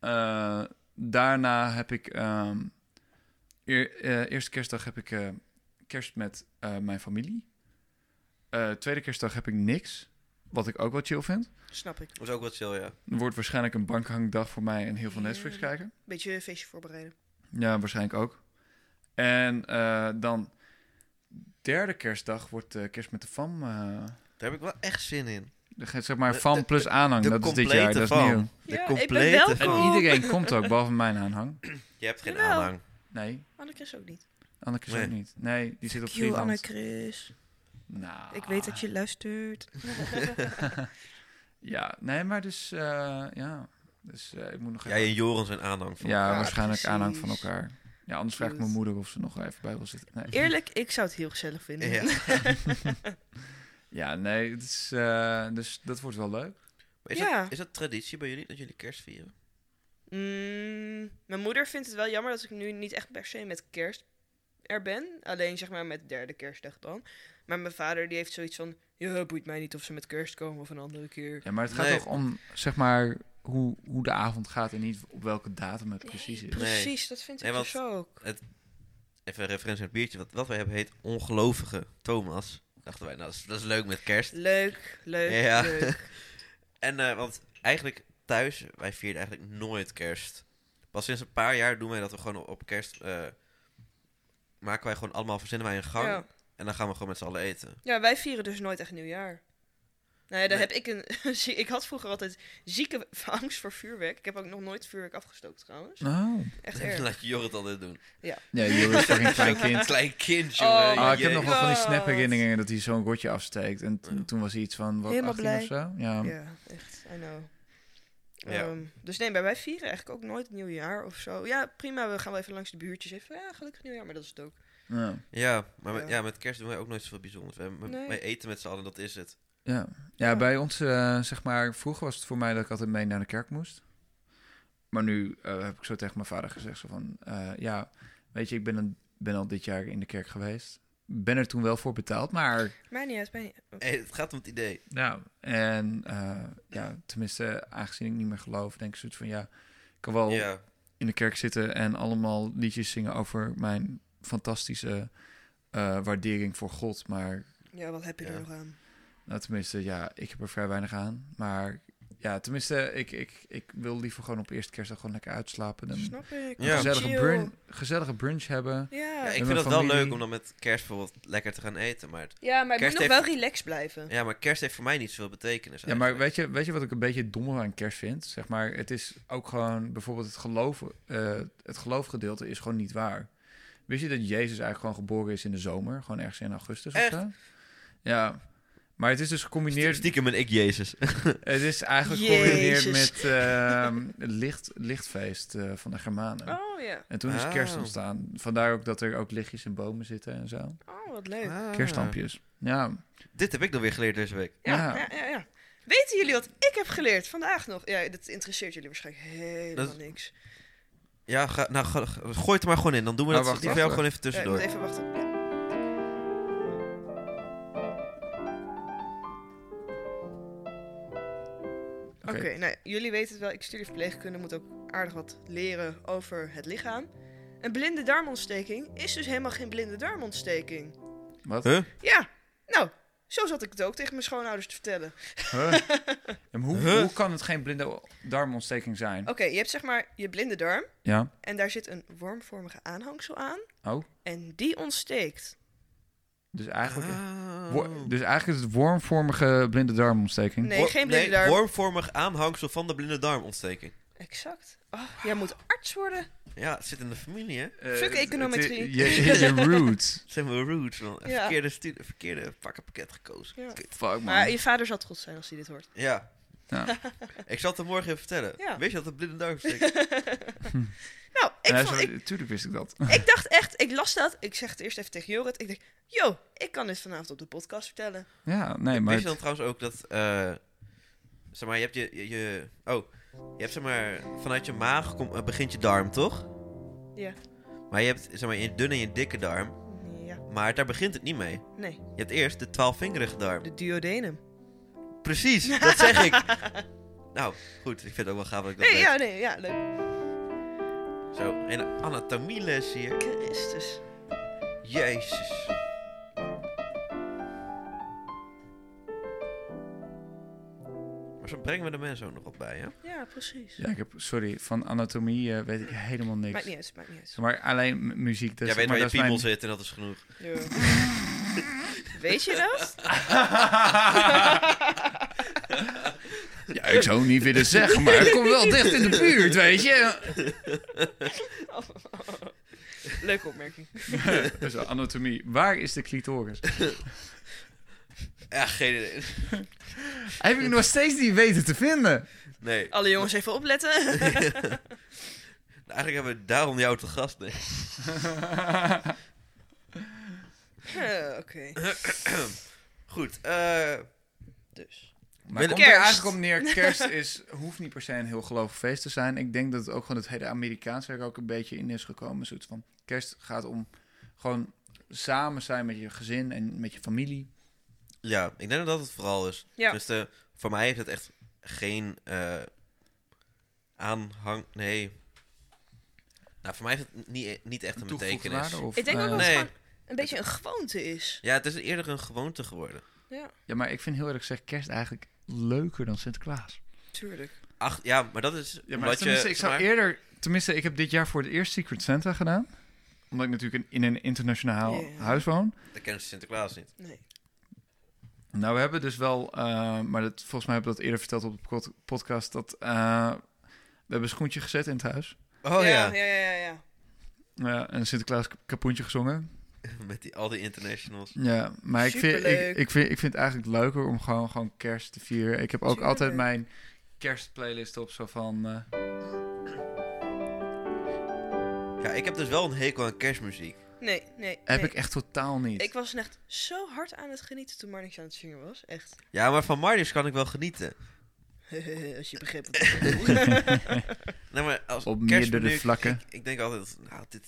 Eh, daarna heb ik... ehm, eer- eh, eerste kerstdag heb ik eh, kerst met eh, mijn familie. Eh, tweede kerstdag heb ik niks. Wat ik ook wel chill vind.
Snap ik.
Dat is ook wat chill, ja.
Er wordt waarschijnlijk een bankhangdag voor mij en heel veel
Ja.
Netflix kijken.
Beetje een feestje voorbereiden.
Ja, waarschijnlijk ook. En eh, dan derde kerstdag wordt eh, kerst met de FAM. eh,
Daar heb ik wel echt zin in.
zeg maar
De-
FAM
de-
plus aanhang.
de
dat is dit
complete
jaar, dat is
FAM.
nieuw.
De
Ja, ik ben
complete
welkom.
En
van-
Oh.
iedereen komt ook, behalve mijn aanhang.
Je hebt geen
Jawel.
aanhang.
Nee,
Annekris ook niet.
Anneke is
Nee.
ook niet. Nee, die zit op
Q,
Vlieland.
Annekris.
Nou,
Ik weet dat je luistert.
Ja, nee, maar dus... eh, ja, dus eh, ik moet nog
Jij
even...
en Joren zijn aanhang van.
ja,
elkaar,
waarschijnlijk
precies.
aanhang van elkaar. Ja, anders vraag ik
Goed.
mijn moeder of ze nog even bij wil zitten. Nee.
Eerlijk, ik zou het heel gezellig vinden.
Ja.
Ja, nee, het is, eh, dus dat wordt wel leuk.
Maar Is,
Ja.
dat, is dat traditie bij jullie, dat jullie kerst vieren?
Mm, mijn moeder vindt het wel jammer dat ik nu niet echt per se met kerst er ben. Alleen zeg maar met derde kerstdag dan. Maar mijn vader die heeft zoiets van... Ja, boeit mij niet of ze met kerst komen of een andere keer.
Ja, maar het gaat
Nee.
toch om, zeg maar, hoe, hoe de avond gaat en niet op welke datum het
Nee,
precies is.
Precies, dat vind ik
Nee, want-
dus ook.
Even een referentie naar het biertje. Wat, wat wij hebben heet Ongelovige Thomas. Dachten wij, nou, dat is, dat is leuk met kerst.
Leuk, leuk,
Ja.
leuk.
En eh, want eigenlijk thuis, wij vierden eigenlijk nooit kerst. Pas sinds een paar jaar doen wij dat we gewoon op, op kerst... eh, maken wij gewoon allemaal, verzinnen wij een gang.
Ja.
En dan gaan we gewoon met z'n allen eten.
ja, wij vieren dus nooit echt nieuwjaar. Nou ja, daar
Nee.
heb ik een... zie- ik had vroeger altijd zieke angst voor vuurwerk. Ik heb ook nog nooit vuurwerk afgestookt trouwens.
Nou,
Oh.
Echt
Dan
erg.
laat je Jorrit altijd doen.
Ja, Joris is toch een klein kind.
Klein kind,
Oh.
jongen.
Ah, ik heb
Jee.
nog wel van die
God.
snap herinneringen dat hij zo'n rotje afsteekt. En t-
Ja.
toen was hij iets van, wat,
Helemaal
18 of zo? Ja.
Ja, echt. I know.
Ja.
Ehm, dus nee, maar wij vieren eigenlijk ook nooit het nieuwjaar of zo. Ja, prima, we gaan wel even langs de buurtjes. Even, ja, gelukkig nieuwjaar, maar dat is het ook.
Ja.
Ja, maar met,
Ja.
ja, met kerst doen wij ook nooit zoveel bijzonders. Wij, we-
Nee.
wij eten met z'n allen, dat is het.
Ja.
Ja.
ja, bij ons, eh, zeg maar, vroeger was het voor mij dat ik altijd mee naar de kerk moest. Maar nu eh, heb ik zo tegen mijn vader gezegd, zo van, eh, ja, weet je, ik ben, een, ben al dit jaar in de kerk geweest. Ben er toen wel voor betaald, maar
Maar niet uit, mij. niet-
Hey, het gaat om het idee.
Nou, en eh, ja, tenminste, aangezien ik niet meer geloof, denk ik zoiets van ja, ik kan wel
Ja.
in de kerk zitten en allemaal liedjes zingen over mijn fantastische eh, waardering voor God. Maar
Ja, wat heb je
Ja.
er nog aan?
nou, tenminste, ja, ik heb er vrij weinig aan. Maar ja, tenminste, ik, ik, ik wil liever gewoon op eerste kerstdag gewoon lekker uitslapen. Dan een
Snap ik.
Ja.
gezellige,
Chill.
brun- gezellige brunch hebben.
Ja.
Ja, ik
En
vind
mijn
het wel
familie.
leuk om dan met kerst bijvoorbeeld lekker te gaan eten. Maar, het-
ja, maar het
Kerst
moet nog
heeft-
wel relaxed blijven.
ja, maar kerst heeft voor mij niet zoveel betekenis.
Ja, maar
eigenlijk.
weet je, weet je wat ik een beetje dommer aan kerst vind? Zeg maar, het is ook gewoon bijvoorbeeld het geloof. eh, het geloofgedeelte is gewoon niet waar. Wist je dat Jezus eigenlijk gewoon geboren is in de zomer? Gewoon ergens in augustus
Echt?
of zo? Ja. Maar het is dus gecombineerd.
Stiekem ben ik Jezus.
Het is eigenlijk
Jezus.
gecombineerd met ehm, het licht, lichtfeest eh, van de Germanen.
Oh ja.
En toen is kerst
Oh.
ontstaan. Vandaar ook dat er ook lichtjes in bomen zitten en zo.
Oh, wat leuk.
Ah.
Ja,
Kerstampjes. Ja.
Ah. Dit heb ik dan weer geleerd deze week.
ja,
Ja.
ja, ja. Weten jullie wat ik heb geleerd vandaag nog? Ja, dat interesseert jullie waarschijnlijk helemaal
Dat-
niks.
Ja, ga, nou, ga- ga- gooi het er maar gewoon in. Dan doen we
Oh,
dat
wacht,
die
wacht,
jou
wacht. Eh,
gewoon even
Ja, ik
tussendoor.
moet even wachten. Ja. Oké,
Oké.
nou, jullie weten het wel. Ik studeer verpleegkunde, moet ook aardig wat leren over het lichaam. Een blinde darmontsteking is dus helemaal geen blinde darmontsteking.
Wat?
Huh?
Ja, nou, zo zat ik het ook tegen mijn schoonouders te vertellen.
Huh? Ja, maar hoe,
Huh?
hoe kan het geen blinde darmontsteking zijn?
Oké, je hebt zeg maar je blinde darm
Ja.
en daar zit een wormvormige aanhangsel aan.
Oh.
En die ontsteekt.
Dus eigenlijk,
Ah.
wo- dus eigenlijk is het wormvormige blinde darmontsteking.
Nee,
Wor-
geen blinde darm.
wormvormig aanhangsel van de blinde darmontsteking.
Exact. Oh, jij moet arts worden.
Ja, het zit in de familie, hè?
Eh,
Fuck
het-
econometrie.
het- Je, je, je roots.
Het zijn wel roots, man.
Ja.
Verkeerde, stu- verkeerde pakkenpakket gekozen.
Ja.
Kut.
Fuck
Maar
man.
je vader zal trots zijn als hij dit hoort.
Ja.
Ja.
ik zal het hem morgen even vertellen.
Ja.
Weet je dat de blinde darmontsteking...
Nou, ik,
Ja,
vond,
zo-
ik,
Tuurlijk wist ik dat.
ik dacht echt, ik las dat. Ik zeg het eerst even tegen Jorrit. Ik denk, yo, ik kan dit vanavond op de podcast vertellen.
Ja, nee, maar...
Wist je dan trouwens ook dat... eh, zeg maar, je hebt je, je, je- Oh, je hebt zeg maar... Vanuit je maag kom, eh, begint je darm, toch?
Ja.
Maar je hebt zeg maar je dunne en je dikke darm.
Ja,
Maar daar begint het niet mee.
nee.
Je hebt eerst de twaalfvingerige darm.
De duodenum.
Precies, dat zeg ik. Nou, goed. Ik vind het ook wel gaaf dat ik dat
Nee,
weet.
ja, nee, ja, leuk.
Zo, en een anatomieles hier.
Christus.
Jezus. Maar zo brengen we de mensen ook nog op bij, hè?
Dus
Ja, precies.
Ja, ik heb... Sorry, van anatomie eh, weet ik helemaal niks.
Maakt niet uit, maakt niet uit.
Maar alleen mu- muziek. Dus,
Jij weet
maar
waar je
dat is
piemel
mijn-
zit en dat is genoeg.
Ja. Weet je dat?
Ja, ik zou het niet willen zeggen, maar ik kom wel dicht in de buurt, weet je.
Leuke opmerking.
Dus anatomie. Waar is de clitoris?
Ja, geen idee.
Heb ik nog steeds niet weten te vinden.
Nee. Nou,
Alle jongens even opletten.
Eigenlijk hebben we daarom jou te gast. Nee.
Eh, Oké.
Goed, eh,
Dus.
Maar het
Wil-
komt er
Kerst.
eigenlijk op neer, kerst is, hoeft niet per se een heel gelovig feest te zijn. Ik denk dat het ook gewoon het hele Amerikaanse er ook een beetje in is gekomen. Een soort van kerst gaat om gewoon samen zijn met je gezin en met je familie.
Ja, ik denk dat dat het vooral is.
Ja.
Dus voor mij heeft het echt geen eh, aanhang. Nee. Nou, voor mij heeft het niet, niet echt een
Toegevoegde
betekenis.
waarde of,
Ik denk ook
eh,
wel dat
nee.
het gewoon een beetje een gewoonte is.
Ja, het is eerder een gewoonte geworden.
Ja,
Ja, maar ik vind heel eerlijk gezegd kerst eigenlijk leuker dan Sinterklaas.
tuurlijk.
Ach, ja, maar dat is.
Ja, maar
omdat je,
tenminste, ik zou
maar-
eerder... Tenminste, ik heb dit jaar voor het eerst Secret Santa gedaan. Omdat ik natuurlijk in, in een internationaal
Ja.
huis woon.
Dat kennen ze Sinterklaas niet.
Nee.
Nou, we hebben dus wel, eh, maar dat, volgens mij hebben we dat eerder verteld op de pod- podcast, dat eh, we hebben een schoentje gezet in het huis.
Oh ja.
Ja, ja, ja. ja.
Ja, en Sinterklaas k- kapoentje gezongen.
Met die, al die internationals.
Ja, maar ik vind, ik,
Superleuk.
ik, vind, ik vind het eigenlijk leuker om gewoon, gewoon kerst te vieren. Ik heb ook
Tuurlijk.
altijd mijn kerstplaylist op, zo van... eh,
Ja, ik heb dus wel een hekel aan kerstmuziek.
Nee, nee.
heb
nee.
ik echt totaal niet.
Ik was echt zo hard aan het genieten toen Marnix aan het zingen was. Echt.
Ja, maar van Marlies kan ik wel genieten.
Als je begreep wat ik bedoel.
Nee, maar als
Op
kerstmenu-
meerdere vlakken.
Ik, ik denk altijd, nou, dit...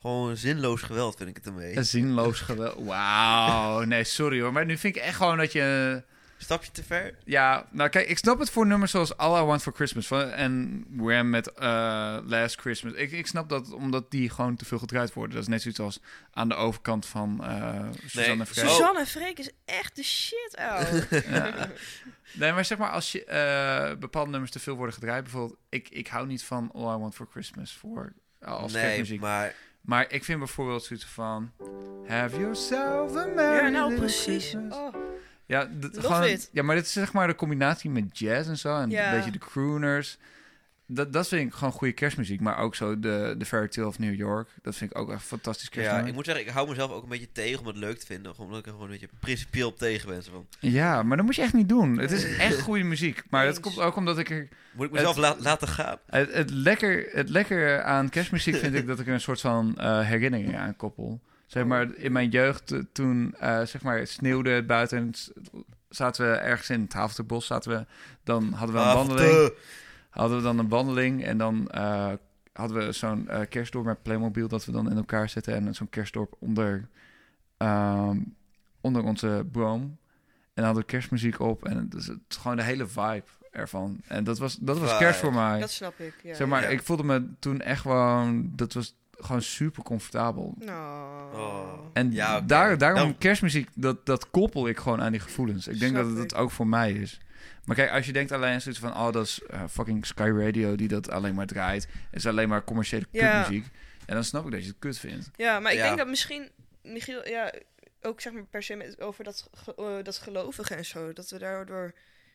Gewoon zinloos geweld vind ik het ermee.
Een Zinloos geweld. Wauw, nee, sorry hoor. Maar nu vind ik echt gewoon dat je...
Stap je te ver?
Ja, nou kijk, ik snap het voor nummers zoals All I Want For Christmas van, en Wham met eh, Last Christmas. Ik, ik snap dat omdat die gewoon te veel gedraaid worden. Dat is net zoiets als aan de overkant van eh Suzanne
Nee,
en Freek.
zo-
Suzanne en Freek is echt de shit, ouwe.
Oh. Ja. Nee, maar zeg maar als je, eh, bepaalde nummers te veel worden gedraaid. Bijvoorbeeld, ik, ik hou niet van All I Want For Christmas voor, eh, als
nee,
kerstmuziek. Maar...
maar
ik vind bijvoorbeeld zoiets van... Have yourself a merry
Ja, nou
little
precies.
Christmas.
Oh,
Ja, dat-
Love
gewoon,
it.
ja, maar dit is zeg maar de combinatie met jazz en zo. En
Ja.
een beetje de crooners. Dat, dat vind ik gewoon goede kerstmuziek. Maar ook zo de, de Fairy Tale of New York. Dat vind ik ook echt fantastisch
ja,
kerstnummer.
ik
Ja,
moet zeggen, ik hou mezelf ook een beetje tegen om het leuk te vinden. Omdat ik er gewoon een beetje principieel op tegen ben. Zo Van,
maar dat moet je echt niet doen. Het is echt goede muziek. Maar dat
Eens.
komt ook omdat ik er...
moet ik mezelf
Het-
la- laten gaan?
Het, het, lekker, het lekker aan kerstmuziek vind ik dat ik er een soort van eh, herinnering aan koppel. Zeg
Oh.
maar, in mijn jeugd eh, toen eh, zeg maar, het sneeuwde het buiten... en het- zaten we ergens in het Havelterbos. Zaten we, dan hadden
Ah,
we een wandeling. hadden we dan een wandeling en dan eh, hadden we zo'n eh, kerstdorp met Playmobil dat we dan in elkaar zetten en zo'n kerstdorp onder, ehm, onder onze boom. En dan hadden we kerstmuziek op en het is het is gewoon de hele vibe ervan. En dat was, dat was
Vibe.
kerst voor mij.
dat snap ik. Ja.
zeg maar,
ja.
ik voelde me toen echt gewoon, dat was gewoon super comfortabel.
Nou.
Oh.
En
Ja, oké.
daar, daarom
Nou-
kerstmuziek, dat, dat koppel ik gewoon aan die gevoelens. Ik denk
Snap
dat het
ik.
dat ook voor mij is. Maar kijk, als je denkt alleen zoiets van... oh, dat is eh, fucking Sky Radio die dat alleen maar draait. Het is alleen maar commerciële
Ja.
kutmuziek. En dan snap ik dat je het kut vindt.
Ja, maar ik
Ja.
denk dat misschien, Michiel, ja, ook zeg maar per se met, over dat, ge- eh, dat gelovige en zo, dat we daardoor...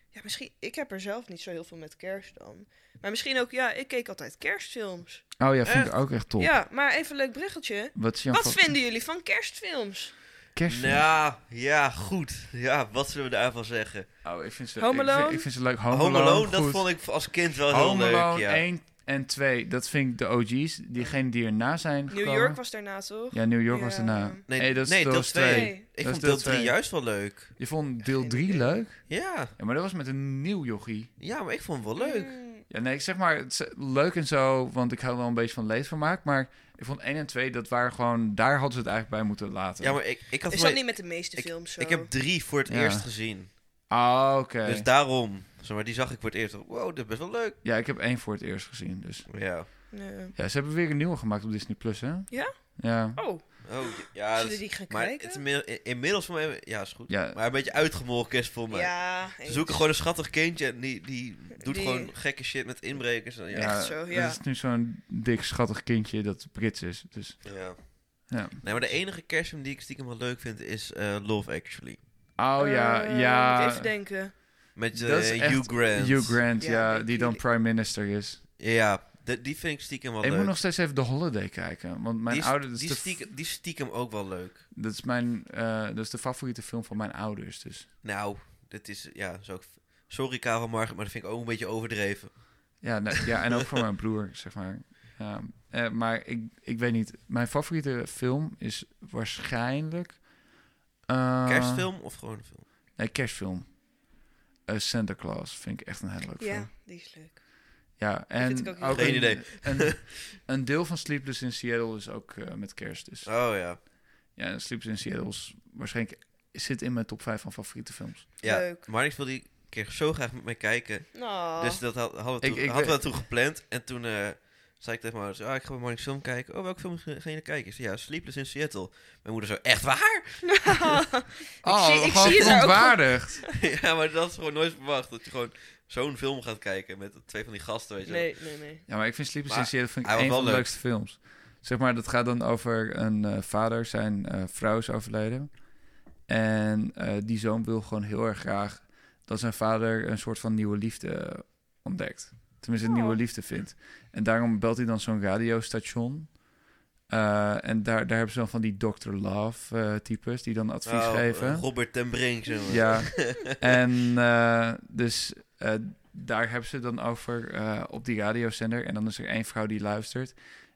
Ja, misschien, ik heb er zelf niet zo heel veel met kerst dan. Maar misschien ook, ja, ik keek altijd kerstfilms.
Oh ja, vind ik
Echt?
ook echt top.
Ja, maar even een leuk berichteltje.
Wat is Jan
Wat
van
vinden jullie van kerstfilms?
kerst?
Nou, ja, goed. Ja, wat zullen we daarvan zeggen?
Oh, ik vind ze,
Home
ik vind-
Alone?
Ik vind ze leuk. Home,
Home, Alone, dat
goed.
vond ik als kind wel heel
Home Alone
leuk, ja.
1 en 2, dat vind ik de OG's. Diegenen die erna zijn
New
gekomen.
York was daarna, toch?
Ja, New York was
Ja.
erna.
Nee,
Hey, dat is
nee,
deel
deel
2.
twee. Ik
Dat is
vond
deel
deel 3
twee.
juist wel leuk.
Je vond deel
Geen
3
idee.
leuk?
Ja,
Ja, maar dat was met een nieuw jochie.
ja maar ik vond het wel leuk.
Mm,
Ja, nee, ik zeg maar, het is eh, leuk en zo, want ik hou wel een beetje van leedvermaak. Maar ik vond 1 en 2, dat waren gewoon, daar hadden ze het eigenlijk bij moeten laten.
Ja, maar ik, ik had...
Is
voor mij-
dat niet met de meeste films zo?
Ik heb drie voor het
eh, Ja.
eerst gezien.
Ah, oké.
Dus daarom, zeg maar, die zag ik voor het eerst. Wow, dat is best wel leuk.
Ja, ik heb één voor het eerst gezien, dus.
Ja.
Nee. Oh,
Ja, ze hebben weer een nieuwe gemaakt op Disney+, Plus, hè?
Ja?
Ja.
Oh,
Oh, ja.
zullen we
dat-
die gaan
maar het
kijken?
is inmiddel- in- inmiddels voor mij... Ja, is goed.
Ja.
Maar een beetje uitgemolken is voor mij.
ja,
Ze zoeken gewoon een schattig kindje en die, die doet
Die-
gewoon gekke shit met inbrekers. En, ja. Ja.
echt zo, ja.
Dat is nu zo'n dik, schattig kindje dat Brits is, dus ja.
Nee, maar de enige kerstfilm die ik stiekem wel leuk vind is eh, Love Actually.
Oh ja,
Eh, moet
ja.
ik Even denken.
Met eh,
Dat is echt
Hugh Grant.
Hugh Grant,
Ja,
ja,
denk
die dan
jullie-
prime minister is.
Ja, de- die vind ik stiekem wel
Ik
leuk.
moet nog steeds even The Holiday kijken, want mijn
die, is-
ouders...
die,
dat is de-
stiekem, die stiekem ook wel leuk.
Dat is, mijn, eh, dat is de favoriete film van mijn ouders, dus...
Nou, dit is... Ja, zo ook... Sorry, Karel Margaret, maar dat vind ik ook een beetje overdreven.
Ja, nou, ja en ook voor mijn broer, zeg maar. Ja, eh, maar ik, ik weet niet. Mijn favoriete film is waarschijnlijk... eh,
Kerstfilm of gewoon een film?
Nee, kerstfilm. Eh, eh, Santa Claus vind ik echt een hele leuke film.
Ja, die is leuk.
Ja,
vind
en
ik ook
ook,
heel
leuk.
een,
Geen idee.
Een, een deel van Sleepless in Seattle is ook eh, met kerst. Dus
Oh ja.
ja, en Sleepless in Seattle is waarschijnlijk zit in mijn top 5 van favoriete films.
ja.
Leuk.
Maar ik wilde die keer zo graag met mij kijken.
Oh.
Dus dat had- hadden we
Ik-
toen,
ik-
hadden we dat toen gepland. En toen eh, zei ik tegen mijn ouders, ah, ik ga bij Marnix film kijken. Oh, welke film ga ga je naar kijken? Ik zei, ja, Sleepless in Seattle. Mijn moeder zo, echt waar?
zie- ik zie het daar ook wel.
Oh, verontwaardigd.
ja, maar dat is gewoon nooit verwacht. Dat je gewoon zo'n film gaat kijken met twee van die gasten, weet je. wel.
nee, nee, nee.
Ja, maar ik vind Sleepless in
Maar
Seattle vind ik
hij was
een
wel
van de
leuk.
leukste films. Zeg maar, dat gaat dan over een eh, vader, zijn eh, vrouw is overleden. En eh, die zoon wil gewoon heel erg graag dat zijn vader een soort van nieuwe liefde ontdekt. Tenminste, een
Oh.
nieuwe liefde vindt. En daarom belt hij dan zo'n radiostation. Eh, en daar, daar hebben ze dan van die Dr. Love eh, types die dan advies
Oh,
geven.
eh, Robert ten Brink, zeg maar.
Ja. en eh, dus eh, daar hebben ze het dan over eh, op die radiozender. En dan is er één vrouw die luistert.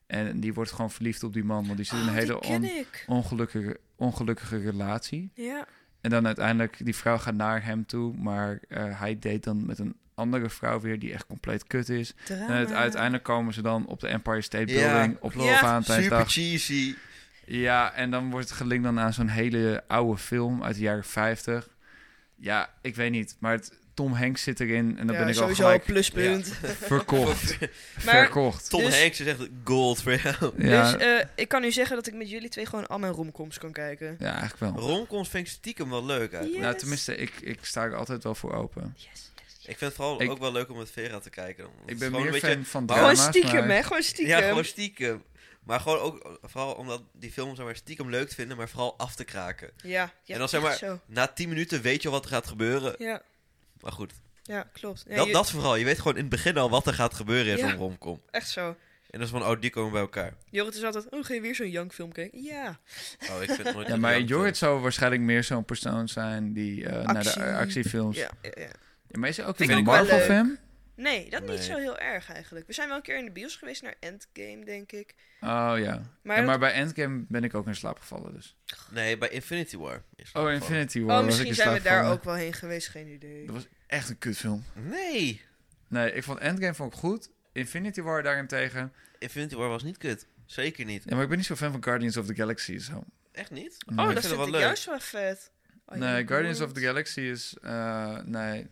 En die wordt gewoon verliefd op die man. Want die zit in een
Oh,
hele
die ken
on-
ik.
ongelukkige, ongelukkige relatie.
Ja.
En dan uiteindelijk, die vrouw gaat naar hem toe. Maar eh, hij date dan met een andere vrouw weer die echt compleet kut is. En het-
Drama.
uiteindelijk komen ze dan op de Empire State
Ja.
Building op
Ja.
Super
Valentijnsdag.
cheesy.
Ja, en dan wordt het gelinkt dan aan zo'n hele oude film uit de jaren 50. Ja, ik weet niet, maar het, Tom Hanks zit erin en dan
Ja,
ben ik al
sowieso
gelijk
pluspunt.
verkocht.
Maar-
verkocht.
Tom
Dus-
Hanks is echt gold voor jou.
Ja,
Dus eh, ik kan nu zeggen dat ik met jullie twee gewoon al mijn romcoms kan kijken.
ja, eigenlijk wel.
Romcoms vind ik stiekem wel leuk eigenlijk.
Nou,
Yes.
tenminste, ik, ik sta er altijd wel voor open.
Yes, yes, yes.
Ik vind het vooral
Ik-
ook wel leuk om met Vera te kijken. dan. Want
Ik
het
ben
is gewoon
meer
een beetje-
fan van
maar-
drama's.
gewoon stiekem,
maar-
hè? Gewoon stiekem.
Ja, gewoon stiekem. Maar gewoon ook, vooral omdat die films maar stiekem leuk te vinden, maar vooral af te kraken.
Ja, ja,
En dan zeg
echt
maar-
Zo.
Na 10 minuten weet je al wat er gaat gebeuren.
Ja,
Maar goed,
ja, klopt. Ja,
dat,
je-
dat vooral. Je weet gewoon in het begin al wat er gaat gebeuren in
Ja.
zo'n romcom.
Echt zo.
En dat is van, oh, die komen bij elkaar.
Jorrit is altijd, oh, ga je weer zo'n young film kijken? Ja.
Oh, ik vind het nooit
Ja,
een
maar
romcom.
Jorrit zou waarschijnlijk meer zo'n persoon zijn die eh, naar de
Actie.
eh, actiefilms...
Ja, ja, ja.
Ja, maar is hij ook
Vind
een
ik ook wel
Marvel-fan?
Nee, dat
Nee.
niet zo heel erg eigenlijk. We zijn wel een keer in de bios geweest naar Endgame, denk ik.
Oh ja. ja.
Maar, dat-
Maar bij Endgame ben ik ook in slaap gevallen, dus.
Nee, bij Infinity War. is dat
Oh,
gewoon.
Infinity War
Oh,
was ik
misschien
in
zijn
slaap
we daar
gevallen.
ook wel heen geweest, geen idee.
eh, Dat was echt een kutfilm.
Nee,
Nee, ik vond Endgame vond ik goed. Infinity War daarentegen.
Infinity War was niet kut. Zeker niet.
Ja, maar ik ben niet zo fan van Guardians of the Galaxy. Zo.
Echt niet?
Nee.
Oh,
vind
dat
het
vind
wel
ik
leuk.
juist wel vet. Oh, ja,
Nee, Guardians of the
goed.
Galaxy is... eh, nee,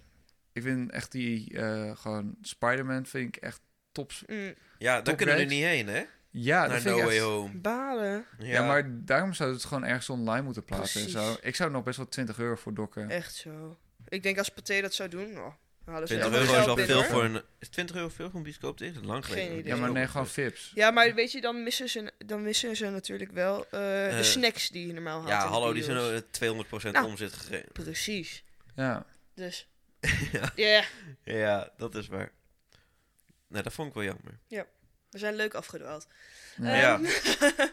ik vind echt die... eh, gewoon Spider-Man vind ik echt top.
Mm,
Ja, daar
Top
kunnen we er
ranked.
niet heen, hè?
Ja, dat
Naar
vind
No
ik
Way
echt-
Home.
Balen,
Ja,
Ja, maar daarom zou het gewoon ergens online moeten plaatsen. en
Precies. Eh,
Zo. Ik zou er nog best wel 20 euro voor dokken.
echt zo. Ik denk als Pathé dat zou doen, oh, dan hadden ze
20
echt
euro
wel
is al
geld
veel
binnen, hoor.
voor een... Is 20 euro veel voor een bioscoop tegen? Lang
Geen
geleden.
idee.
ja, maar nee, gewoon vips.
Ja, maar weet je, dan missen ze, dan missen ze natuurlijk wel eh, de
Eh,
snacks die je normaal haalt. in
Ja,
de
hallo, die
bios.
zijn al, eh, 200%
Nou.
omzet gegeven.
Precies.
Ja.
Dus,
ja.
ja,
ja, dat is waar. Nou, dat vond ik wel jammer.
we zijn leuk afgedwaald.
Ja.
Ja.
Ehm,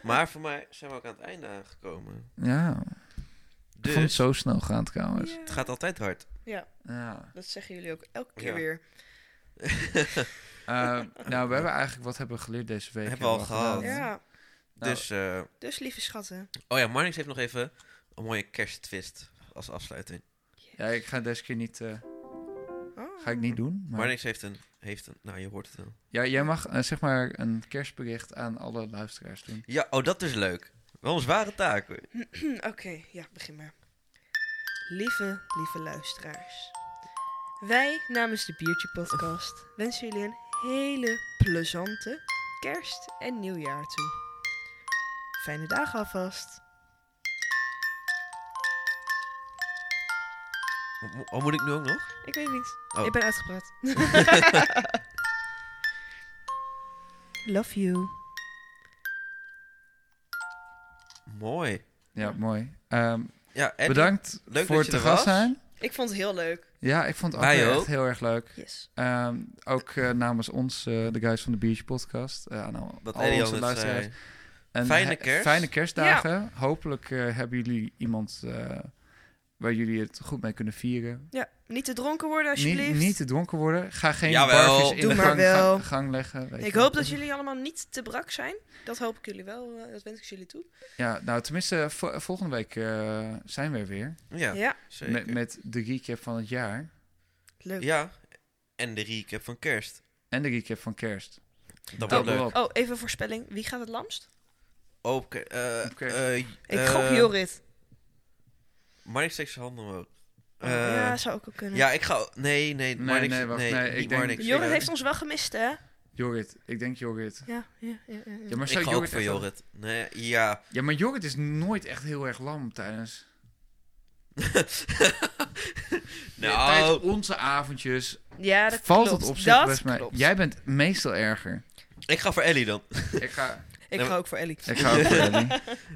Maar voor mij zijn we ook aan het einde aangekomen.
Ja. Ik
Dus
vond het zo snel gaan trouwens.
ja,
het gaat altijd hard.
Ja.
dat zeggen jullie ook elke keer
Ja.
weer.
Eh, nou, we hebben eigenlijk wat hebben we geleerd deze week.
Hebben we
en wat
al gehad.
gedaan.
Ja,
Nou,
Dus, eh,
dus lieve schatten.
oh ja, Marnix heeft nog even een mooie kersttwist als afsluiting.
Ja, ik ga deze keer niet. eh,
Oh.
ga ik niet doen. Maar...
Marnix heeft een, heeft een, nou je hoort het wel.
Ja, jij mag eh, zeg maar een kerstbericht aan alle luisteraars doen.
Ja, oh dat is leuk. Wel een zware taak hoor.
Oké, ja, begin maar. Lieve, lieve luisteraars. Wij namens de Biertje Podcast wensen jullie een hele plezante kerst- en nieuwjaar toe. Fijne dagen alvast.
Mo- Oh, moet ik nu ook nog?
Ik weet niet.
Oh.
Ik ben uitgepraat. Love you.
Mooi.
Ja, mooi. Ehm,
Ja, en
bedankt
leuk dat
voor
je
te
er
gast
was.
zijn.
Ik vond het heel leuk.
Ja, ik vond het ook,
Wij
weer
ook.
echt heel erg leuk.
Yes.
Ehm, ook eh, namens ons, eh, de guys van de Biertje Podcast. eh, aan al,
wat
al
Elian
onze
net
luisteraars.
zei.
Een
Fijne
he-
kerst.
Fijne kerstdagen. Hopelijk eh, hebben jullie iemand eh, waar jullie het goed mee kunnen vieren.
Ja, niet te dronken worden
Niet,
alsjeblieft.
niet te dronken worden. Ga geen
Jawel.
barfjes in
Doe
de
maar
gang,
wel.
gang, gang leggen. weet
Ik
je.
hoop dat jullie allemaal niet te brak zijn. Dat hoop ik jullie wel. eh, Dat wens ik jullie toe.
Ja, nou tenminste, vo- volgende week eh, zijn we er weer.
Ja,
ja.
zeker.
Met, met de recap van het jaar.
Leuk.
Ja, en de recap van kerst.
En de recap van kerst.
Dat
Double
wordt leuk.
up.
Oh, even een voorspelling. Wie gaat het lamst?
Oké. eh,
Oké.
eh,
Ik
eh,
gok Jorrit.
Maar ik steek zijn handen omhoog. Eh,
Oh, ja,
ja, eh,
zou ook wel kunnen.
ik ga... Nee, nee,
Nee,
maar niks-
nee, wacht, nee, ik
niet
denk-
Marnix.
Jorrit
Ja.
heeft ons wel gemist, hè?
Jorrit. Ik denk Jorrit.
Ja, ja, ja. ja,
Ja, maar
Ik
zou
ga ook voor
echt wel-
Jorrit. Nee, ja.
Ja, maar Jorrit is nooit echt heel erg lam tijdens... Ja,
nou,
tijdens onze avondjes
Ja, dat
valt
klopt.
het op zich
dat
best mee.
klopt.
Jij bent meestal erger.
ik ga voor Ellie dan.
ik ga,
Ik
Nee,
ga ook voor Ellie.
ik ga ook voor Ellie.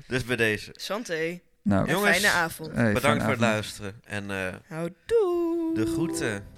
Dus bij deze.
Santé.
Nou,
Een
Jongens,
Eh.
fijne avond.
hey, fijne
Bedankt voor
avond.
het luisteren. En eh,
Houdoe.
de groeten.